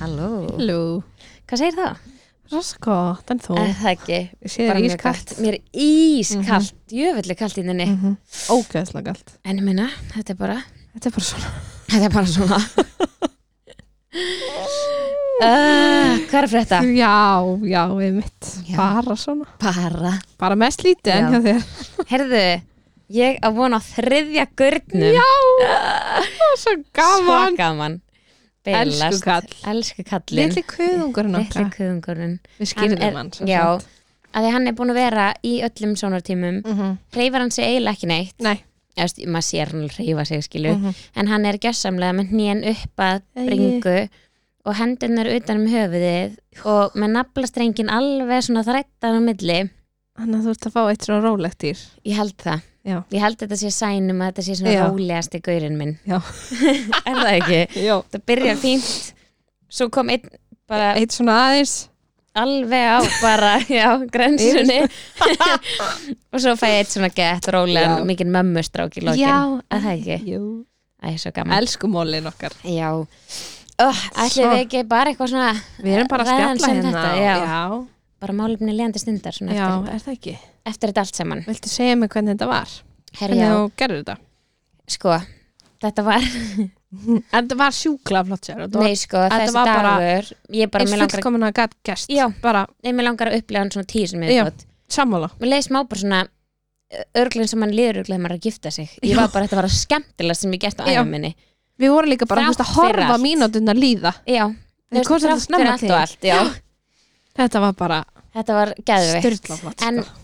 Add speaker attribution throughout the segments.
Speaker 1: Halló.
Speaker 2: Halló.
Speaker 1: Hvað segir það?
Speaker 2: Rosa gott, en þú?
Speaker 1: Eh, það ekki.
Speaker 2: Ég sé þér
Speaker 1: mjög
Speaker 2: ískallt.
Speaker 1: kalt. Mér er ískallt, mm -hmm. jöfnveldi kallt í þenni.
Speaker 2: Mhm. Ógeðslega galt.
Speaker 1: En ég minna, þetta er bara,
Speaker 2: Þetta er bara svona.
Speaker 1: þetta er bara svona. uh, hvað er að frétta?
Speaker 2: Já, já, við mitt.
Speaker 1: Já.
Speaker 2: Bara svona.
Speaker 1: Bara.
Speaker 2: Bara mest lítið
Speaker 1: Já.
Speaker 2: enn hjá þér.
Speaker 1: Herðu, ég á vona á þriðja gurnum. Sko,
Speaker 2: Já, svo gaman.
Speaker 1: Svakaman.
Speaker 2: Elsku kall.
Speaker 1: Elsku kallinn.
Speaker 2: Lilli kuðungurinn
Speaker 1: Litli
Speaker 2: okkar.
Speaker 1: kuðungurinn.
Speaker 2: Við
Speaker 1: Hann
Speaker 2: skilum
Speaker 1: er,
Speaker 2: hann.
Speaker 1: já, að því hann er búin að vera í öllum sónartímum.
Speaker 2: Mm -hmm.
Speaker 1: Hreyfar hann sig eiginlega ekki neitt.
Speaker 2: Nei.
Speaker 1: Efst, maður sér hann hreyfa sig skilu
Speaker 2: Mhm.
Speaker 1: en hann er gjössamlega með hnén upp að
Speaker 2: Æi.
Speaker 1: bringu og hendunar utan um höfuðið og með naflastrengin alveg svona þrættan á milli
Speaker 2: Þannig að þú ert að fá eitt svona rólegt dýr.
Speaker 1: ég held það,
Speaker 2: Já.
Speaker 1: ég held þetta sé sænum að þetta sé svona
Speaker 2: Já.
Speaker 1: rólegasti gaurinn minn
Speaker 2: Já.
Speaker 1: er það ekki?
Speaker 2: Já.
Speaker 1: Það byrjar fínt svo kom einn bara
Speaker 2: Eitt svona aðeins.
Speaker 1: alveg á bara, já, grensunni og svo fæ ég eitt svona gett rólegan,
Speaker 2: Já.
Speaker 1: mikið mömmustráki í lokin, að það ekki?
Speaker 2: Jú.
Speaker 1: Æ, svo gaman
Speaker 2: Elsku mólin okkar.
Speaker 1: Já oh, Ætlum
Speaker 2: Svo.
Speaker 1: við ekki bara eitthvað svona
Speaker 2: Við erum bara að
Speaker 1: Ræðan
Speaker 2: spjalla
Speaker 1: sem
Speaker 2: hérna.
Speaker 1: þetta,
Speaker 2: já.
Speaker 1: já.
Speaker 2: já.
Speaker 1: bara málefni leðandi stundar svona
Speaker 2: Já,
Speaker 1: eftir,
Speaker 2: er það ekki?
Speaker 1: eftir þetta allt saman
Speaker 2: Viltu segja mig hvernig þetta var?
Speaker 1: Herjá,
Speaker 2: Hvernig þú gerður þetta?
Speaker 1: sko, þetta var
Speaker 2: En þetta var sjúkla flott sér og þetta
Speaker 1: Nei, sko,
Speaker 2: þetta
Speaker 1: þessi
Speaker 2: var bara
Speaker 1: dagur Ég bara, mér
Speaker 2: var eins
Speaker 1: langar,
Speaker 2: fullkomin að gæt gæst
Speaker 1: Já.
Speaker 2: bara
Speaker 1: nei, mér langar að upplega hann svona tíu sem
Speaker 2: Já.
Speaker 1: ég þótt
Speaker 2: sammála
Speaker 1: Mér leiði smá bara svona örglinn sem hann líður örglinn þegar maður er að gifta sig Ég
Speaker 2: Já.
Speaker 1: var bara, þetta var að skemmtilega sem ég gert á
Speaker 2: Já.
Speaker 1: æfum minni
Speaker 2: Við vorum líka bara þú veist, að
Speaker 1: Þrátt fyrir
Speaker 2: horfa
Speaker 1: allt.
Speaker 2: mínútuna líða
Speaker 1: Já,
Speaker 2: Við
Speaker 1: þú
Speaker 2: komum
Speaker 1: veist,
Speaker 2: svolítið
Speaker 1: þrátt fyrir
Speaker 2: snemma
Speaker 1: allt
Speaker 2: til
Speaker 1: og allt Já,
Speaker 2: Þetta var bara
Speaker 1: þetta var geðveikt
Speaker 2: styrla flott
Speaker 1: En
Speaker 2: sko.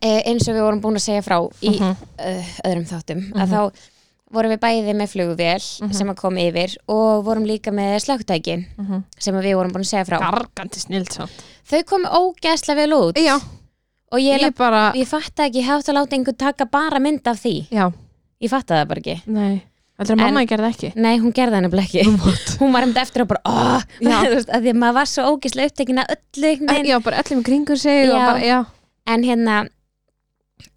Speaker 1: eh, eins og við vorum búin að segja frá í
Speaker 2: Mhm.
Speaker 1: uh, öðrum þáttum að þá vorum við bæði með flugvél sem að kom yfir og vorum líka með slögtækin
Speaker 2: Mhm.
Speaker 1: sem að við vorum búin að segja frá
Speaker 2: Gargandi snilt samt
Speaker 1: þau komu ógæsla vel út
Speaker 2: Já,
Speaker 1: og ég,
Speaker 2: ég
Speaker 1: ég,
Speaker 2: bara
Speaker 1: ég fatt ekki, ég hafði að láta einhvern taka bara mynd af því
Speaker 2: Já,
Speaker 1: ég fatt það bara ekki
Speaker 2: nei Þetta er
Speaker 1: En-
Speaker 2: mamma ég gerði ekki
Speaker 1: Nei, hún gerði henni blekki. Hún var um eftir og bara, oh,
Speaker 2: Já.
Speaker 1: þú veist, að því að maður var svo ógæslega upptekin að öllu. einhvern veginn.
Speaker 2: Já, bara öllum í kringur sig og
Speaker 1: Já.
Speaker 2: bara, já,
Speaker 1: En hérna,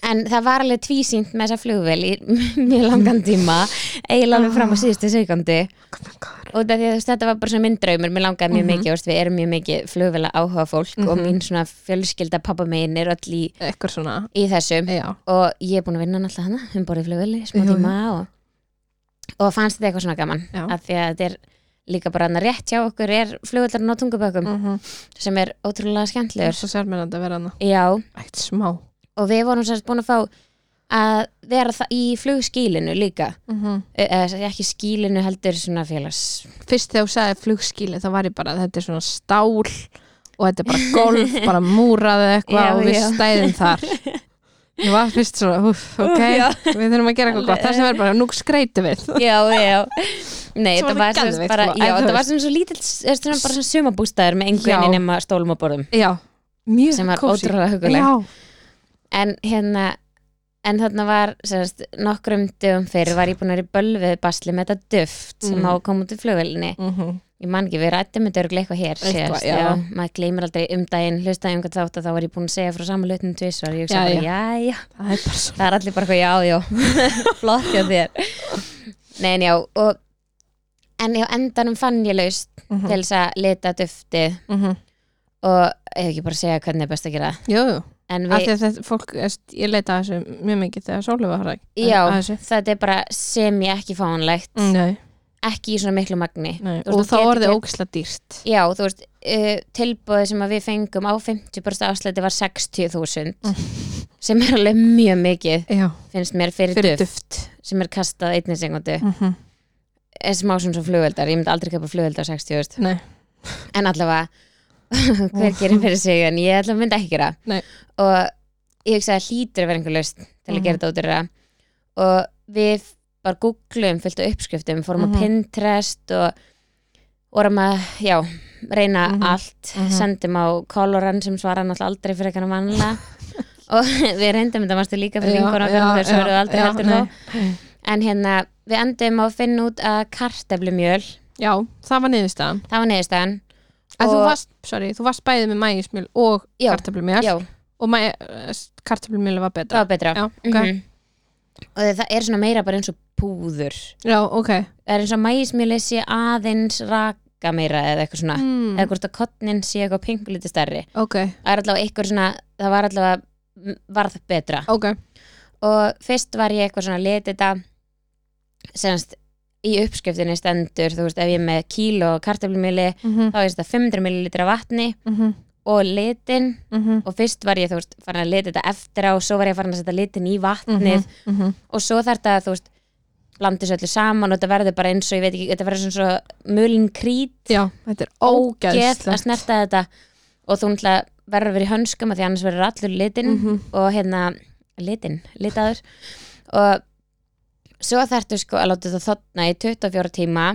Speaker 1: en það var alveg tvísýnt með þessa flugvél í mjög langan tíma, eiginlega alveg
Speaker 2: Ah.
Speaker 1: fram á síðustu sekundi. og það, veist, þetta var bara svona minn draumur mér langaði
Speaker 2: Mhm.
Speaker 1: mjög mikið, veist, við erum mjög mikið flugvela áhuga fólk og mín svona fjölskylda pappa megin er öll í,
Speaker 2: eitthvað svona
Speaker 1: í þessu
Speaker 2: Já,
Speaker 1: og ég er búin að vinna náttúrulega hana um borðið flugveli, smá
Speaker 2: Jú, jú.
Speaker 1: tíma og, og fannst þetta eitthvað svona gaman
Speaker 2: Já.
Speaker 1: af því að þetta er líka bara hana rétt hjá okkur er flugvelarinn á
Speaker 2: Mm.
Speaker 1: tungubökum sem er ótrúlega
Speaker 2: það er
Speaker 1: skemmtilegur
Speaker 2: svo sérmennandi að vera hana
Speaker 1: já,
Speaker 2: Eitt smá
Speaker 1: og við vorum sérst búin að fá að vera það í flugskílinu líka Eh, eh, ekki skílinu heldur svona félags
Speaker 2: fyrst þegar þú sagði flugskíli þá var ég bara þetta er svona stál og þetta er bara golf, bara múraði eitthvað
Speaker 1: Já,
Speaker 2: og við
Speaker 1: já.
Speaker 2: stæðum þar ég var fyrst svona, uff, ok
Speaker 1: Úff, já.
Speaker 2: við þurfum að gera eitthvað gott, það sem er bara, nú skreytum við
Speaker 1: já, já Nei,
Speaker 2: Svo
Speaker 1: þetta
Speaker 2: var
Speaker 1: var
Speaker 2: það
Speaker 1: sem sagt
Speaker 2: geðveikt,
Speaker 1: bara
Speaker 2: sko.
Speaker 1: já,
Speaker 2: En þú
Speaker 1: þetta var
Speaker 2: veist.
Speaker 1: sem svo lítill, eh, svona bara svona sumabústæður með engu
Speaker 2: Já.
Speaker 1: enni nema stólum og borðum
Speaker 2: já, mjög
Speaker 1: sem var
Speaker 2: kósí.
Speaker 1: ótrúlega huguleg
Speaker 2: já,
Speaker 1: en hérna, en þarna var semast, nokkrum dögum fyrir var ég búin að vera í bölvið basli með þetta duft sem
Speaker 2: Mm.
Speaker 1: á að koma út í flugvelinni
Speaker 2: mm -hmm.
Speaker 1: ég man ekki, við rættum þetta örgulega eitthvað hér
Speaker 2: Eitthvað,
Speaker 1: síðast,
Speaker 2: já.
Speaker 1: maður gleymir aldrei um daginn hlustaði um hvað þátt að þá var ég búin að segja frá saman hlutinu tvisvar, ég hugsa
Speaker 2: Já,
Speaker 1: bara, já, já
Speaker 2: það er bara svona
Speaker 1: það er allir bara eitthvað já, já flott hjá þér Nei, en já, og en á endanum fann ég laust
Speaker 2: Mhm.
Speaker 1: til þess að lita dufti
Speaker 2: mm -hmm.
Speaker 1: og ég hef ekki bara að segja hvernig er best að gera það.
Speaker 2: jú, jú,
Speaker 1: en
Speaker 2: af
Speaker 1: við,
Speaker 2: því að þetta fólk veist, ég leita að þessu mjög mikið þegar sólu var hræk
Speaker 1: já,
Speaker 2: að þessu
Speaker 1: þetta er bara sem ég ekki fáanlegt
Speaker 2: Nei,
Speaker 1: ekki í svona miklu magni
Speaker 2: nei.
Speaker 1: Þú veist, þú
Speaker 2: og þá
Speaker 1: getur
Speaker 2: er þið
Speaker 1: gert-
Speaker 2: ógislega dýrt
Speaker 1: já, þú veist, uh, tilbúið sem að við fengum á 50% afslæti var 60.000 sem er alveg mjög mikið
Speaker 2: já,
Speaker 1: finnst mér fyrir,
Speaker 2: Mm. fyrir
Speaker 1: duft,
Speaker 2: duft
Speaker 1: sem er kastað einnig segundu
Speaker 2: mm -hmm.
Speaker 1: er smá svona svo flugveldar, ég myndi aldrei köpa flugveldar á 60.000
Speaker 2: nei,
Speaker 1: en allavega hver gerir fyrir sig en ég allavega myndi ekki gera
Speaker 2: Nei.
Speaker 1: og ég hugsaði að hlýtur að vera einhver laust til að
Speaker 2: Mhm.
Speaker 1: gera þetta út úr það og við bara googluðum fullt af uppskriftum, fórum
Speaker 2: Mhm.
Speaker 1: á Pinterest og vorum að já, reyna
Speaker 2: Mhm.
Speaker 1: allt
Speaker 2: Mhm.
Speaker 1: sendum á Coloran sem svara náttúrulega aldrei fyrir eitthvað vanlega og við reyndum þetta mástu líka fyrir yngur okkar og þeir svöruðu aldrei
Speaker 2: já,
Speaker 1: heldur
Speaker 2: nei.
Speaker 1: þá en hérna, við endum á að finna út að karteflumjöl,
Speaker 2: Já, það var niðurstaðan
Speaker 1: það var neðurstaðan
Speaker 2: En þú
Speaker 1: Og-
Speaker 2: varst, sorry, þú varst bæðið með mægismjöl og
Speaker 1: Já,
Speaker 2: kartöflumjöl
Speaker 1: já,
Speaker 2: og mæ, eh, kartöflumjöl var
Speaker 1: það
Speaker 2: betra
Speaker 1: var betra
Speaker 2: Já, ok,
Speaker 1: okay. Mhm. og það er svona meira bara eins og púður
Speaker 2: já, ok
Speaker 1: það er eins og mægismjöli sé aðeins rak, dökka meira eða eitthvað svona
Speaker 2: Mm.
Speaker 1: eða hvort að kottnin sé eitthvað pinguliti stærri
Speaker 2: Ok,
Speaker 1: það er allavega eitthvað svona það var allavega varð betra
Speaker 2: ok
Speaker 1: og fyrst var ég eitthvað svona að leta þetta semst í uppskriftinni stendur þú veist ef ég er með kíló og kartöflumili
Speaker 2: Mhm,
Speaker 1: þá er þetta 500 millilitra vatni
Speaker 2: mhm,
Speaker 1: og litin
Speaker 2: mhm,
Speaker 1: og fyrst var ég þú veist farin að leta þetta eftir á og svo var ég farin að setja litin í vatnið
Speaker 2: mhm,
Speaker 1: og svo þarf þetta þú veist blandis öllu saman og þetta verður bara eins og ég veit ekki, þetta verður svona svo mulin krít
Speaker 2: Já, þetta er
Speaker 1: ógeð að
Speaker 2: ógeðslegt
Speaker 1: snerta þetta og þú náttúrulega verður að vera í hönskum af því annars verður allur litinn
Speaker 2: Mhm.
Speaker 1: og hérna litinn, litaður og svo þarftu sko að láta þetta þotna í 24 tíma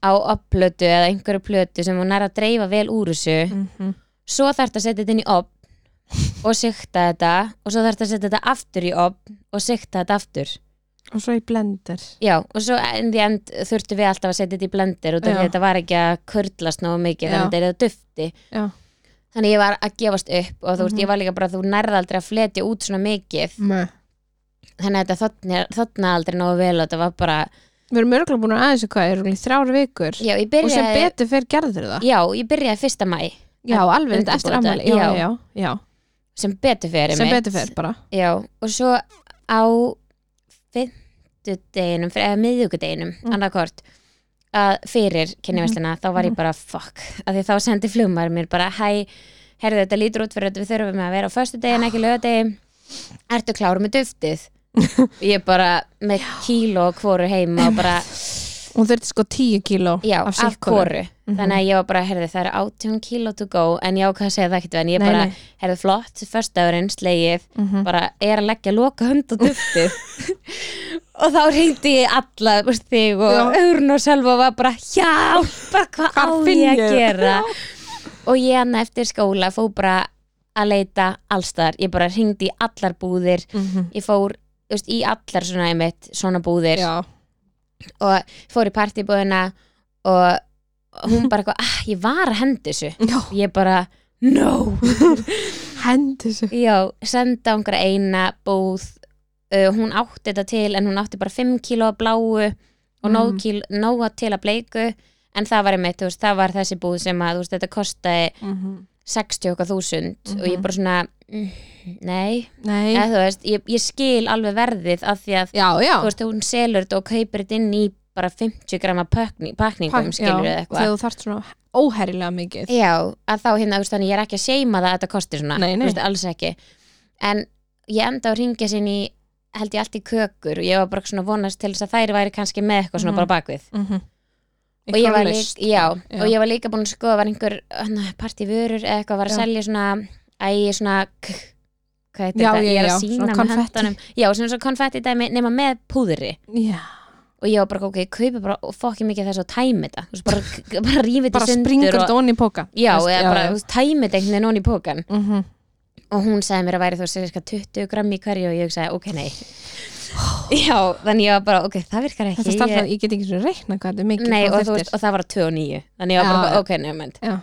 Speaker 1: á upplötu eða einhverju plötu sem hún er að dreifa vel úr þessu
Speaker 2: Mhm.
Speaker 1: svo þarftu að setja þetta inn í opn og sikta þetta og svo þarftu að setja þetta aftur í opn og sikta þetta aftur
Speaker 2: Og svo í blender
Speaker 1: Já, og svo in the end þurftu við alltaf að setja þetta í blender út af því
Speaker 2: Já.
Speaker 1: að þetta var ekki að kurlast nógu mikið
Speaker 2: Já.
Speaker 1: þannig að þetta er það dufti
Speaker 2: Já, Mhm.
Speaker 1: þannig ég var að gefast upp og þú veist, ég var líka bara þú nærða aldrei að fletja út svona mikið
Speaker 2: með
Speaker 1: þannig að þetta þotna, þotna aldrei nógu vel og þetta var bara,
Speaker 2: Við erum örgulega búin aðeins eitthvað, erum við þrjár vikur
Speaker 1: já, ég
Speaker 2: Og sem
Speaker 1: byrjaði
Speaker 2: betur fer gerður það
Speaker 1: já, ég byrjaði fyrsta mæ
Speaker 2: Já, alveg þetta eftir
Speaker 1: undirbúið
Speaker 2: ammæli
Speaker 1: þetta,
Speaker 2: Já,
Speaker 1: já.
Speaker 2: já, já,
Speaker 1: sem betur fyrir
Speaker 2: sem
Speaker 1: mig
Speaker 2: betur fer bara
Speaker 1: já, og svo á fymtudeginum, eða miðvíkudeginum mm. annarkort að fyrir kynniveslina, þá var ég bara fuck, af því þá sendi flugmaður mér bara hæ, herðu þetta lítur út fyrir þetta við þurfum að vera á föstudegin, ekki lögadegi ertu klár með duftið ég bara með kíló og hvoru heima og bara,
Speaker 2: Hún þurfti sko 10 kíló
Speaker 1: já,
Speaker 2: af Mhm.
Speaker 1: af
Speaker 2: sikkoru
Speaker 1: hvoru þannig að ég var bara, herðu það er 18 kíló to go, en ég ákvað að segja það ekkert en ég
Speaker 2: Nei,
Speaker 1: bara,
Speaker 2: nei. Mhm.
Speaker 1: herðu flott, föstudagurinn slegið, bara er að leggja loka hönd á duftið og þá reyndi ég alla þú veist, þig og
Speaker 2: Já.
Speaker 1: Örn og Sölva var bara já, bara hvað á
Speaker 2: Hvað finn
Speaker 1: ég að
Speaker 2: ég?"
Speaker 1: gera og ég hann eftir skóla fór bara að leita allstar, ég bara hringdi í allar búðir
Speaker 2: Mhm.
Speaker 1: ég fór þú veist, í allar svona einmitt, svona búðir
Speaker 2: Já,
Speaker 1: og fór í partybúðina og hún bara eitthvað, ah, ég var að henda þessu
Speaker 2: já,
Speaker 1: ég bara, no
Speaker 2: hendi þessu
Speaker 1: Já, senda á einhverja eina búð uh, hún átti þetta til en hún átti bara 5 kíló af bláu og
Speaker 2: Mm.
Speaker 1: nóg, kíl, nóga til að bleiku en það var einmitt, þú veist, það var þessi búð sem að þú veist, þetta kostaði Mhm. 60 okkar þúsund og ég bara svona mm, nei,
Speaker 2: Mhm. Nei,
Speaker 1: eða þú veist ég, ég skil alveg verðið af því að
Speaker 2: já, já
Speaker 1: þú veist, hún selur þetta og kaupir þetta inn í bara 50 grama pakni, pakningum
Speaker 2: Pakk- já,
Speaker 1: skilur við eitthvað
Speaker 2: Þegar þú þarft svona óherrilega mikið
Speaker 1: Já, að þá hérna, þú veist, þannig ég er ekki að seima það að þetta kostir svona,
Speaker 2: Nei, nei.
Speaker 1: þú veist, alls ekki en ég enda á ringja sinni held ég allt í kökur og ég var bara svona vonast til þess að þær væri kannski með eitthvað svona
Speaker 2: Mhm.
Speaker 1: bara bakvið
Speaker 2: Mhm.
Speaker 1: og ég, var
Speaker 2: Einhver
Speaker 1: líka,
Speaker 2: lausn.
Speaker 1: já,
Speaker 2: Já.
Speaker 1: og ég var líka búin að skoða var einhver hana, partívörur eða eitthvað var að
Speaker 2: Já.
Speaker 1: selja svona æ, svona k hvað heitir
Speaker 2: Já,
Speaker 1: þetta,
Speaker 2: já,
Speaker 1: ég er
Speaker 2: já,
Speaker 1: að
Speaker 2: svona
Speaker 1: sína með
Speaker 2: konfetti.
Speaker 1: höndunum já, svona svo konfetti dæmi nema með púðri
Speaker 2: Já,
Speaker 1: og ég var bara, ok, ég kaupi bara og fokki mikið þess og tæmi þetta Þú veist, bara, bara rífið
Speaker 2: bara
Speaker 1: þetta í
Speaker 2: springur
Speaker 1: sundur og,
Speaker 2: þetta onni í póka
Speaker 1: já,
Speaker 2: Þú veist,
Speaker 1: eða bara þú veist, tæmi þetta einhvern veginn onni í pókan
Speaker 2: Mhm.
Speaker 1: og hún sagði mér að væri þú cirka 20 gramm í hverju og ég sagði ok, nei já, þannig ég var bara, ok, það virkar
Speaker 2: Þetta
Speaker 1: ekki
Speaker 2: starfnað,
Speaker 1: ég,
Speaker 2: ég get ekki svona reikna hvað þetta er mikið
Speaker 1: nei,
Speaker 2: hvað
Speaker 1: og, þú
Speaker 2: þurftir.
Speaker 1: veist, og það var 2 og 9 þannig ég var
Speaker 2: Já,
Speaker 1: bara,
Speaker 2: já.
Speaker 1: ok, nefnd
Speaker 2: Já,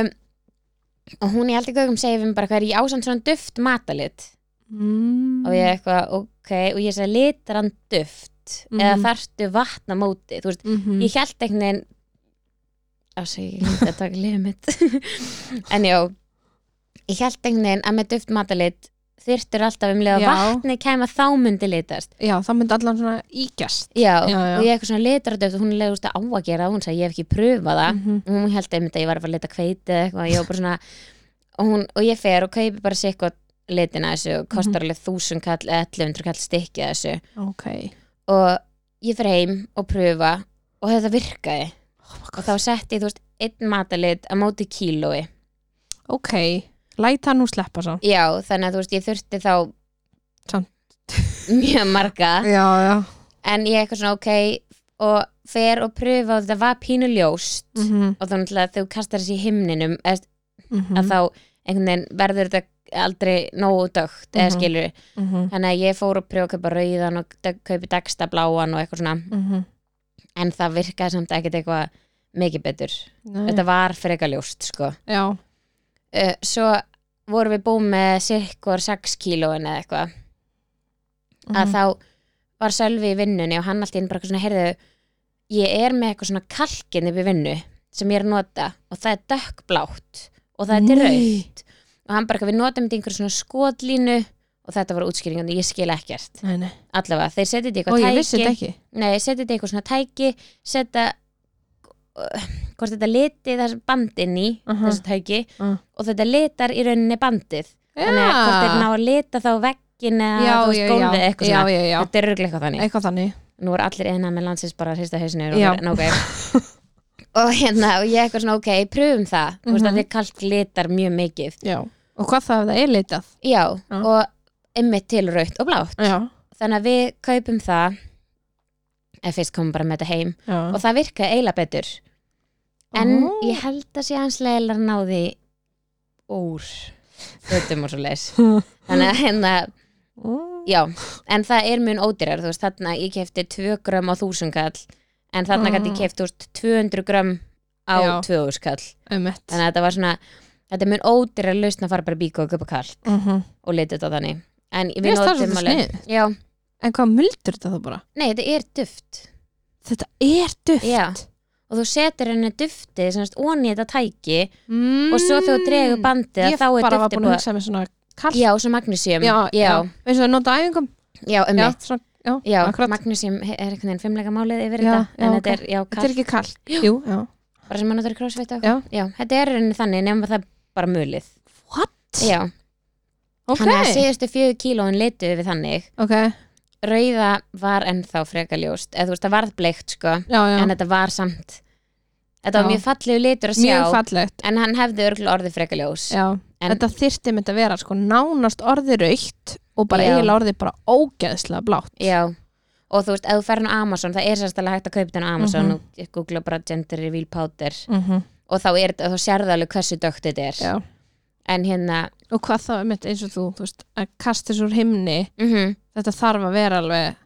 Speaker 1: um, og hún í aldrei gögum segir mér bara hvað er ég ásand svona duft matalit
Speaker 2: Mm.
Speaker 1: og ég eitthvað, ok, og ég sagði litran duft eða
Speaker 2: Mhm.
Speaker 1: þarftu vatna móti þú veist,
Speaker 2: Mhm.
Speaker 1: ég held einhvern veginn Ásæk, ég hindi að taka liðið mitt En já Ég held einhvern veginn að með duft matalit þyrftur alltaf um liða
Speaker 2: Já.
Speaker 1: vatni kæma þá myndi litast
Speaker 2: Já, það myndi allan svona ígjast
Speaker 1: já,
Speaker 2: Já, já.
Speaker 1: og ég eitthvað svona litraduft og hún leiði úst að á að gera það, hún sagði ég hef ekki pröfað það
Speaker 2: Mhm.
Speaker 1: og hún held einmitt að ég var að fara að lita kveiti eða eitthvað, ég var bara svona og, hún, og ég fer og kaupi bara sér eitthvað litina þessu
Speaker 2: Mhm.
Speaker 1: og kostar alveg þúsund kall eða 1100 kall stikkið af þessu
Speaker 2: Ok
Speaker 1: og ég fer heim og pröfa og þetta virkaði
Speaker 2: Oh,
Speaker 1: og þá setti ég, þú veist, einn matalit að móti kílói.
Speaker 2: Ok, læta nú sleppa svo
Speaker 1: Já, þannig að þú veist, ég þurfti þá
Speaker 2: Samt.
Speaker 1: mjög marga,
Speaker 2: Já, já
Speaker 1: en ég eitthvað svona, ok og fer og pröfa og þetta var pínu ljóst
Speaker 2: Mhm,
Speaker 1: og þá náttúrulega þú kastar þessi í himninum eða,
Speaker 2: mhm,
Speaker 1: að þá einhvern veginn verður þetta aldrei nógu dögt, eða
Speaker 2: Mhm.
Speaker 1: skilur
Speaker 2: mhm,
Speaker 1: þannig að ég fór og pröfa að kaupa rauðan og dög- kaupi dagsta bláan og eitthvað svona
Speaker 2: mhm.
Speaker 1: en það virkaði samt ekkert eitthvað mikið betur,
Speaker 2: Nei,
Speaker 1: þetta var frekar ljóst sko
Speaker 2: Já,
Speaker 1: uh, svo vorum við búin með sirkur 6 kílóin eða eitthvað að
Speaker 2: mhm.
Speaker 1: þá var Sölvi í vinnunni og hann alltaf bara eitthvað svona, heyrðu ég er með eitthvað svona kalkin upp í vinnu sem ég er að nota og það er dökkblátt og það er til
Speaker 2: Nei.
Speaker 1: rautt og hann bara eitthvað, við notum þetta í einhver svona skotlínu og þetta var útskýringandi, ég skil ekkert
Speaker 2: Nei, nei.
Speaker 1: allavega, þeir setja þetta í
Speaker 2: Og ég
Speaker 1: eitthvað
Speaker 2: vissi
Speaker 1: tæki
Speaker 2: þetta ekki.
Speaker 1: nei, setja þetta í eitthvað svona tæki setja uh, hvort þetta liti þessi band inn í
Speaker 2: Aha.
Speaker 1: þessu tæki
Speaker 2: Ah.
Speaker 1: og þetta litar í rauninni bandið þannig að hvort þeir ná
Speaker 2: Já,
Speaker 1: að lita þá veggin eða
Speaker 2: já,
Speaker 1: þú veist,
Speaker 2: já,
Speaker 1: gólfið eða
Speaker 2: já,
Speaker 1: eitthvað
Speaker 2: já,
Speaker 1: svona
Speaker 2: já, já.
Speaker 1: þetta er röglega eitthvað þannig
Speaker 2: Eitthvað þannig.
Speaker 1: nú er allir eina með landsins bara að hrista hausinu
Speaker 2: Já.
Speaker 1: og, okay. og hérna og ég eitthvað svona ok, pröfum það þú veist
Speaker 2: Mhm.
Speaker 1: að þið kalt litar mjög mikið
Speaker 2: Já. Og hvað það ef það er litað?
Speaker 1: já,
Speaker 2: Já.
Speaker 1: og ymmið til rautt og blátt
Speaker 2: Já.
Speaker 1: þannig að við kaupum það eða fyrst komum bara með þetta heim
Speaker 2: Já.
Speaker 1: og það virkaði eiginlega betur en
Speaker 2: Ó.
Speaker 1: ég held að sé hans leilar náði úr fötum og svo leis þannig að hérna, já en það er mjög ódýrar, þú veist, þarna ég kefti 2 grömm á 1000 kall en þarna
Speaker 2: Mm.
Speaker 1: gæti ég keft, þú veist, 200 grömm á
Speaker 2: Já.
Speaker 1: 2000 kall
Speaker 2: Ömmett.
Speaker 1: þannig að þetta var svona, þetta er mjög ódýrar lausn að fara bara í bíku og köpa kall og litið þetta þannig en
Speaker 2: Mhm. Mér
Speaker 1: við
Speaker 2: finnst það
Speaker 1: notum
Speaker 2: svolítið
Speaker 1: alveg,
Speaker 2: snið.
Speaker 1: já,
Speaker 2: En hvað muldur þetta þá bara?
Speaker 1: nei, þetta er duft
Speaker 2: Þetta er duft.
Speaker 1: Já. og þú setur henni duftið, semst, onni þetta tæki og svo þegar þú dregur bandið
Speaker 2: Mm. Ég
Speaker 1: þá er
Speaker 2: bara var
Speaker 1: duftið
Speaker 2: búin að
Speaker 1: búið
Speaker 2: hugsa með svona kall.
Speaker 1: já, svo magnesium
Speaker 2: já.
Speaker 1: já,
Speaker 2: Eins og að nota á æfingum.
Speaker 1: já, um
Speaker 2: Já,
Speaker 1: mitt
Speaker 2: svona, já,
Speaker 1: já,
Speaker 2: akkurat.
Speaker 1: magnesium he- er einhvern veginn fimmleika málið yfir
Speaker 2: Já,
Speaker 1: þetta en
Speaker 2: já,
Speaker 1: þetta er, já,
Speaker 2: Þetta er
Speaker 1: kall,
Speaker 2: ekki kall. Jú, já.
Speaker 1: bara sem maður notur í crossfit og-
Speaker 2: Já.
Speaker 1: já, þetta er henni þannig nefnum það er bara mulið
Speaker 2: What?
Speaker 1: já,
Speaker 2: Ok.
Speaker 1: hann að síðustu fjögur kílóin litu við þannig
Speaker 2: Ok.
Speaker 1: rauða var ennþá freka ljóst eða þú veist, það varð bleikt, sko
Speaker 2: Já, já.
Speaker 1: en þetta var samt þetta var
Speaker 2: Já.
Speaker 1: mjög fallegu litur að sjá
Speaker 2: Mjög fallegt.
Speaker 1: en hann hefði örgulega orðið freka ljós
Speaker 2: Já.
Speaker 1: en,
Speaker 2: Þetta þyrfti með þetta vera sko nánast orði raukt og bara
Speaker 1: Já.
Speaker 2: eiginlega orði bara ógeðslega blátt.
Speaker 1: Já, og þú veist, ef þú ferð á Amazon það er sérstæðlega hægt að kaupa þetta á Amazon
Speaker 2: Mhm.
Speaker 1: og ég googla bara gender reveal powder
Speaker 2: Mm -hmm.
Speaker 1: og þá, er, þá sérðu alveg hversu dögt þetta er
Speaker 2: Já.
Speaker 1: en hérna
Speaker 2: Og hvað þá, einmitt, eins og þú, þú veist, að kasta þessu úr himni,
Speaker 1: mm
Speaker 2: þetta þarf að vera alveg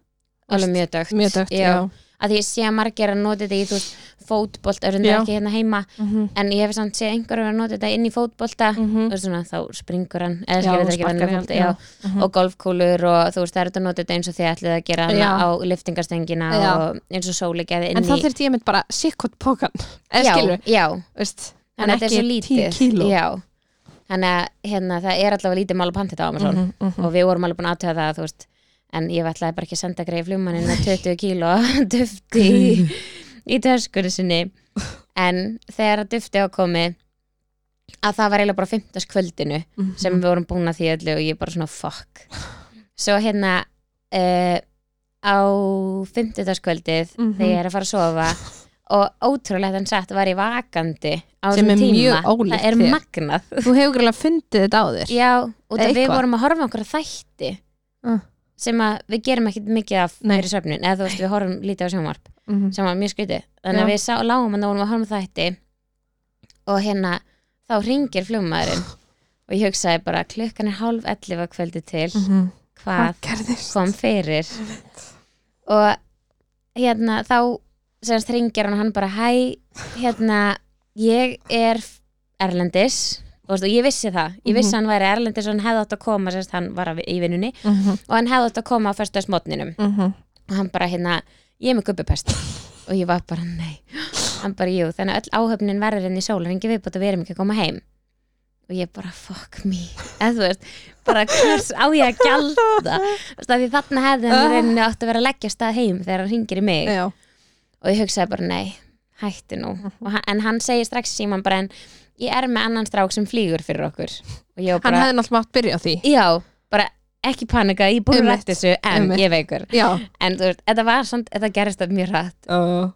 Speaker 1: alveg mjög dögt,
Speaker 2: mjög dögt. Já.
Speaker 1: að því ég sé að margir að nota þetta í þú veist, fótbolt, er
Speaker 2: Já.
Speaker 1: þetta ekki hérna heima
Speaker 2: Mm -hmm.
Speaker 1: en ég hef samt séð einhverjum að nota þetta inn í fótbolta
Speaker 2: Mm -hmm.
Speaker 1: og svona, þá springur hann eða
Speaker 2: Já,
Speaker 1: skilur Mhm. þetta ekki
Speaker 2: sparkar í
Speaker 1: vennilega
Speaker 2: hann,
Speaker 1: fótbolta já.
Speaker 2: já. Mhm.
Speaker 1: og golfkúlur og þú veist, það er þetta að nota þetta eins og þið ætlið að gera hana
Speaker 2: Já.
Speaker 1: á liftingastengina
Speaker 2: Já.
Speaker 1: og eins og sóli geði inn
Speaker 2: En þá
Speaker 1: í
Speaker 2: þurfti ég með bara sikkot pókan eða skilur,
Speaker 1: já, já,
Speaker 2: veist
Speaker 1: en þetta er svo lítið
Speaker 2: 10 kíló
Speaker 1: já. þannig að hérna, það er allavega lítið mál að panta þetta á Amazon
Speaker 2: Mhm, mhm.
Speaker 1: og við vorum alveg búin að aðtöða það þú veist, en ég ætlaði bara ekki að senda greið flugmannin með 20 kíló af dufti í, í töskunni sinni en þegar að dufti á komið að það var eiginlega bara 15. kvöldinu
Speaker 2: Mhm.
Speaker 1: sem við vorum búin að því öllu og ég bara svona fuck svo hérna uh, á 50. kvöldið
Speaker 2: Mhm.
Speaker 1: þegar ég er að fara að sofa og ótrúlega þann satt var ég vakandi á
Speaker 2: Sem
Speaker 1: þessum
Speaker 2: er
Speaker 1: tíma
Speaker 2: mjög ólíkt
Speaker 1: það er
Speaker 2: þér.
Speaker 1: magnað
Speaker 2: Þú hefur greiðlega fundið þetta á þér
Speaker 1: já, og það við
Speaker 2: Eitthvað.
Speaker 1: vorum að horfa á einhverja þætti
Speaker 2: Ah.
Speaker 1: sem að við gerum ekkit mikið af
Speaker 2: Nei.
Speaker 1: fyrir svefnin eða þú veist við horfum lítið á sjónvarp
Speaker 2: Mhm.
Speaker 1: sem var mjög skrítið þannig að
Speaker 2: Já.
Speaker 1: við sá, lágum að það vorum að horfa á þætti og hérna þá ringir flugmaðurinn og ég hugsaði bara klukkan er hálf 11 kvöldi til
Speaker 2: Mhm.
Speaker 1: hvað
Speaker 2: gerðist?
Speaker 1: kom fyrir og hérna þá semst ringir hann og hann bara hæ, hérna ég er erlendis og veist, og ég vissi það, ég vissi að hann væri erlendis og hann hefði átt að koma, semst hann var að- í vinnunni
Speaker 2: Mhm,
Speaker 1: og hann hefði átt að koma á föstudagsmótninum
Speaker 2: mhm.
Speaker 1: og hann bara hérna, ég er með gubbupest og ég var bara nei hann bara jú, þannig að öll áhöfnin verður inn í sólaringi viðbútt að við erum ekki að koma heim og ég bara fuck me eða þú veist, bara hvers á ég að gjalda Þú veist, af því þarna hefði hann í rauninni átt að vera að leggja af stað heim þegar hann ringir í mig
Speaker 2: Já.
Speaker 1: og ég hugsaði bara nei, hættu nú Og hann, en hann segir strax í síman bara en ég er með annan strák sem flýgur fyrir okkur og ég var
Speaker 2: Hann
Speaker 1: bara,
Speaker 2: hefði náttúrulega mátt byrja á því
Speaker 1: já, bara ekki panika, ég er búin að
Speaker 2: Einmitt.
Speaker 1: rætt þessu en
Speaker 2: Einmitt.
Speaker 1: ég er veikur
Speaker 2: Já
Speaker 1: en þú veist, þetta var samt, þetta gerist það mjög rætt
Speaker 2: uh,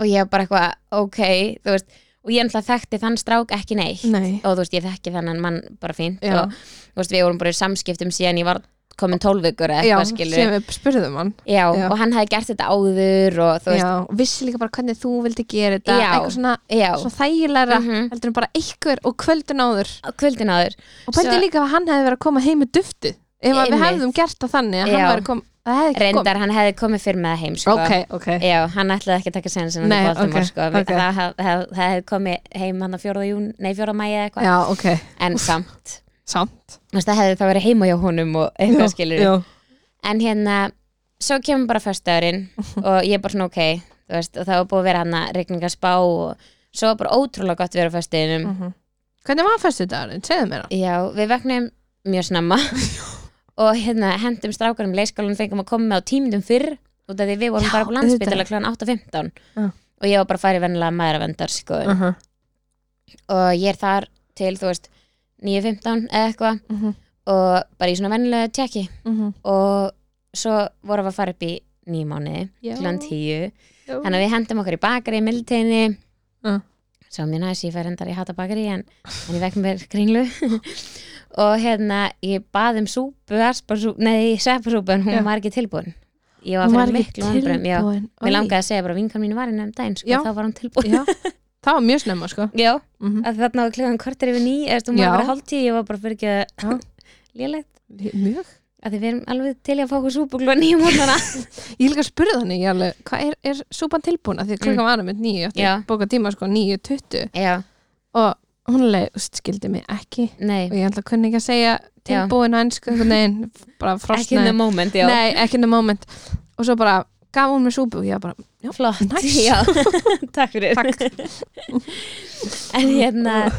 Speaker 1: og ég var bara eitthvað, ok, þú veist og ég ennþá þekkti þann strák ekki neitt
Speaker 2: Nei
Speaker 1: og þú veist, ég þekki þannan mann bara fínt
Speaker 2: Já.
Speaker 1: og þú veist, við vorum bara í samskiptum síðan ég var komin tólvikur eða eitthvað skilur
Speaker 2: sem við spurðum hann
Speaker 1: já,
Speaker 2: Já.
Speaker 1: og hann hefði gert þetta áður og þú veist,
Speaker 2: Já, og vissi líka bara hvernig þú vildi gera þetta
Speaker 1: Já.
Speaker 2: eitthvað svona,
Speaker 1: já,
Speaker 2: svona þægilega
Speaker 1: Mhm.
Speaker 2: heldur en bara einhver og kvöldin áður
Speaker 1: á kvöldin áður
Speaker 2: og pældi
Speaker 1: Svo-
Speaker 2: líka að hann hefði verið að koma heim með duftið ef að við
Speaker 1: Einmitt.
Speaker 2: hefðum gert það þannig að
Speaker 1: Já.
Speaker 2: hann væri kom, það hefði ekki komið
Speaker 1: reyndar, hann hefði komið fyrir með það heim sko.
Speaker 2: ok
Speaker 1: já, hann ætlaði ekki að taka sen sem hann
Speaker 2: Nei,
Speaker 1: í Baltimore
Speaker 2: ok,
Speaker 1: sko. Við-
Speaker 2: ok.
Speaker 1: það hef- hef- það hefði komið heim hann á 4. jún, nei 4. mæja eða eitthvað
Speaker 2: Já, ok,
Speaker 1: en samt,
Speaker 2: samt
Speaker 1: þú veist, það hefði það verið heima hjá honum og eitthvað skilur en hérna, svo kemur bara föstudagurinn hérna og ég er bara svona ok þú veist, og það var búið að vera hann að regninga spá og svo var bara ótrúlega gott að vera á föstuðinum
Speaker 2: -hmm. Hvernig var fyrstu dagurinn? Segðu mér það
Speaker 1: Já, við veknum mjög snemma og hérna hendum strákarum leikskólan fengum að koma með á tímindum fyrr út af því við vorum
Speaker 2: Já,
Speaker 1: bara på landsbytala kl. 8.15
Speaker 2: Já. Mm.
Speaker 1: og ég var bara að fara í vennilega maðuravendar sko.
Speaker 2: -huh.
Speaker 1: og ég er þar til, þú veist 9.15 eða eitthvað
Speaker 2: Mhm.
Speaker 1: og bara í svona vennilega tjekki
Speaker 2: mm -hmm.
Speaker 1: og svo vorum við að fara upp í nýjum mánuði
Speaker 2: Já.
Speaker 1: kl. 10 þannig að við hendum okkur í bakari í mildteginni
Speaker 2: Já.
Speaker 1: svo mjög næs, ég fær endar í hata bakari en, en ég vekk mér kringlu og hérna, ég bað um súpu asparsúpu, nei, sveppasúpu en hún
Speaker 2: Já.
Speaker 1: var ekki tilbúin ég var fyrir miklu vonbröðum, já
Speaker 2: Oi.
Speaker 1: mér langaði að segja bara vinkan mín var henni um daginn, sko,
Speaker 2: Já.
Speaker 1: þá var hún tilbúin
Speaker 2: Já, það var mjög snemma sko
Speaker 1: já,
Speaker 2: mm -hmm.
Speaker 1: að þarna var klukkan kortir yfir ný eða þú
Speaker 2: Já.
Speaker 1: maður var hálftíð, ég var bara fyrir ekki
Speaker 2: Já.
Speaker 1: að lélegt,
Speaker 2: Mjög
Speaker 1: að því við erum alveg til í að fá okkur súpu klukkan nýjum morgnana
Speaker 2: Ég líka spurði hann ég alveg, hvað er, er súpan tilbúin? Af Því að klukkan var um eitt nýju, ég átti
Speaker 1: Mm. Já.
Speaker 2: að bóka tíma sko nýju tuttu
Speaker 1: já,
Speaker 2: og hún alveg, þú veist, skildi mig ekki
Speaker 1: nei,
Speaker 2: og ég ætla að kunni ekki að segja
Speaker 1: Já.
Speaker 2: tilbúin á ennsku, einhvern veginn, bara
Speaker 1: ekki in
Speaker 2: frosnaði
Speaker 1: the moment, já
Speaker 2: Nei, ekki in the moment og svo bara gaf hún mér súpu og ég var bara, já,
Speaker 1: flott
Speaker 2: Nice.
Speaker 1: já, takk fyrir
Speaker 2: Takk.
Speaker 1: en hérna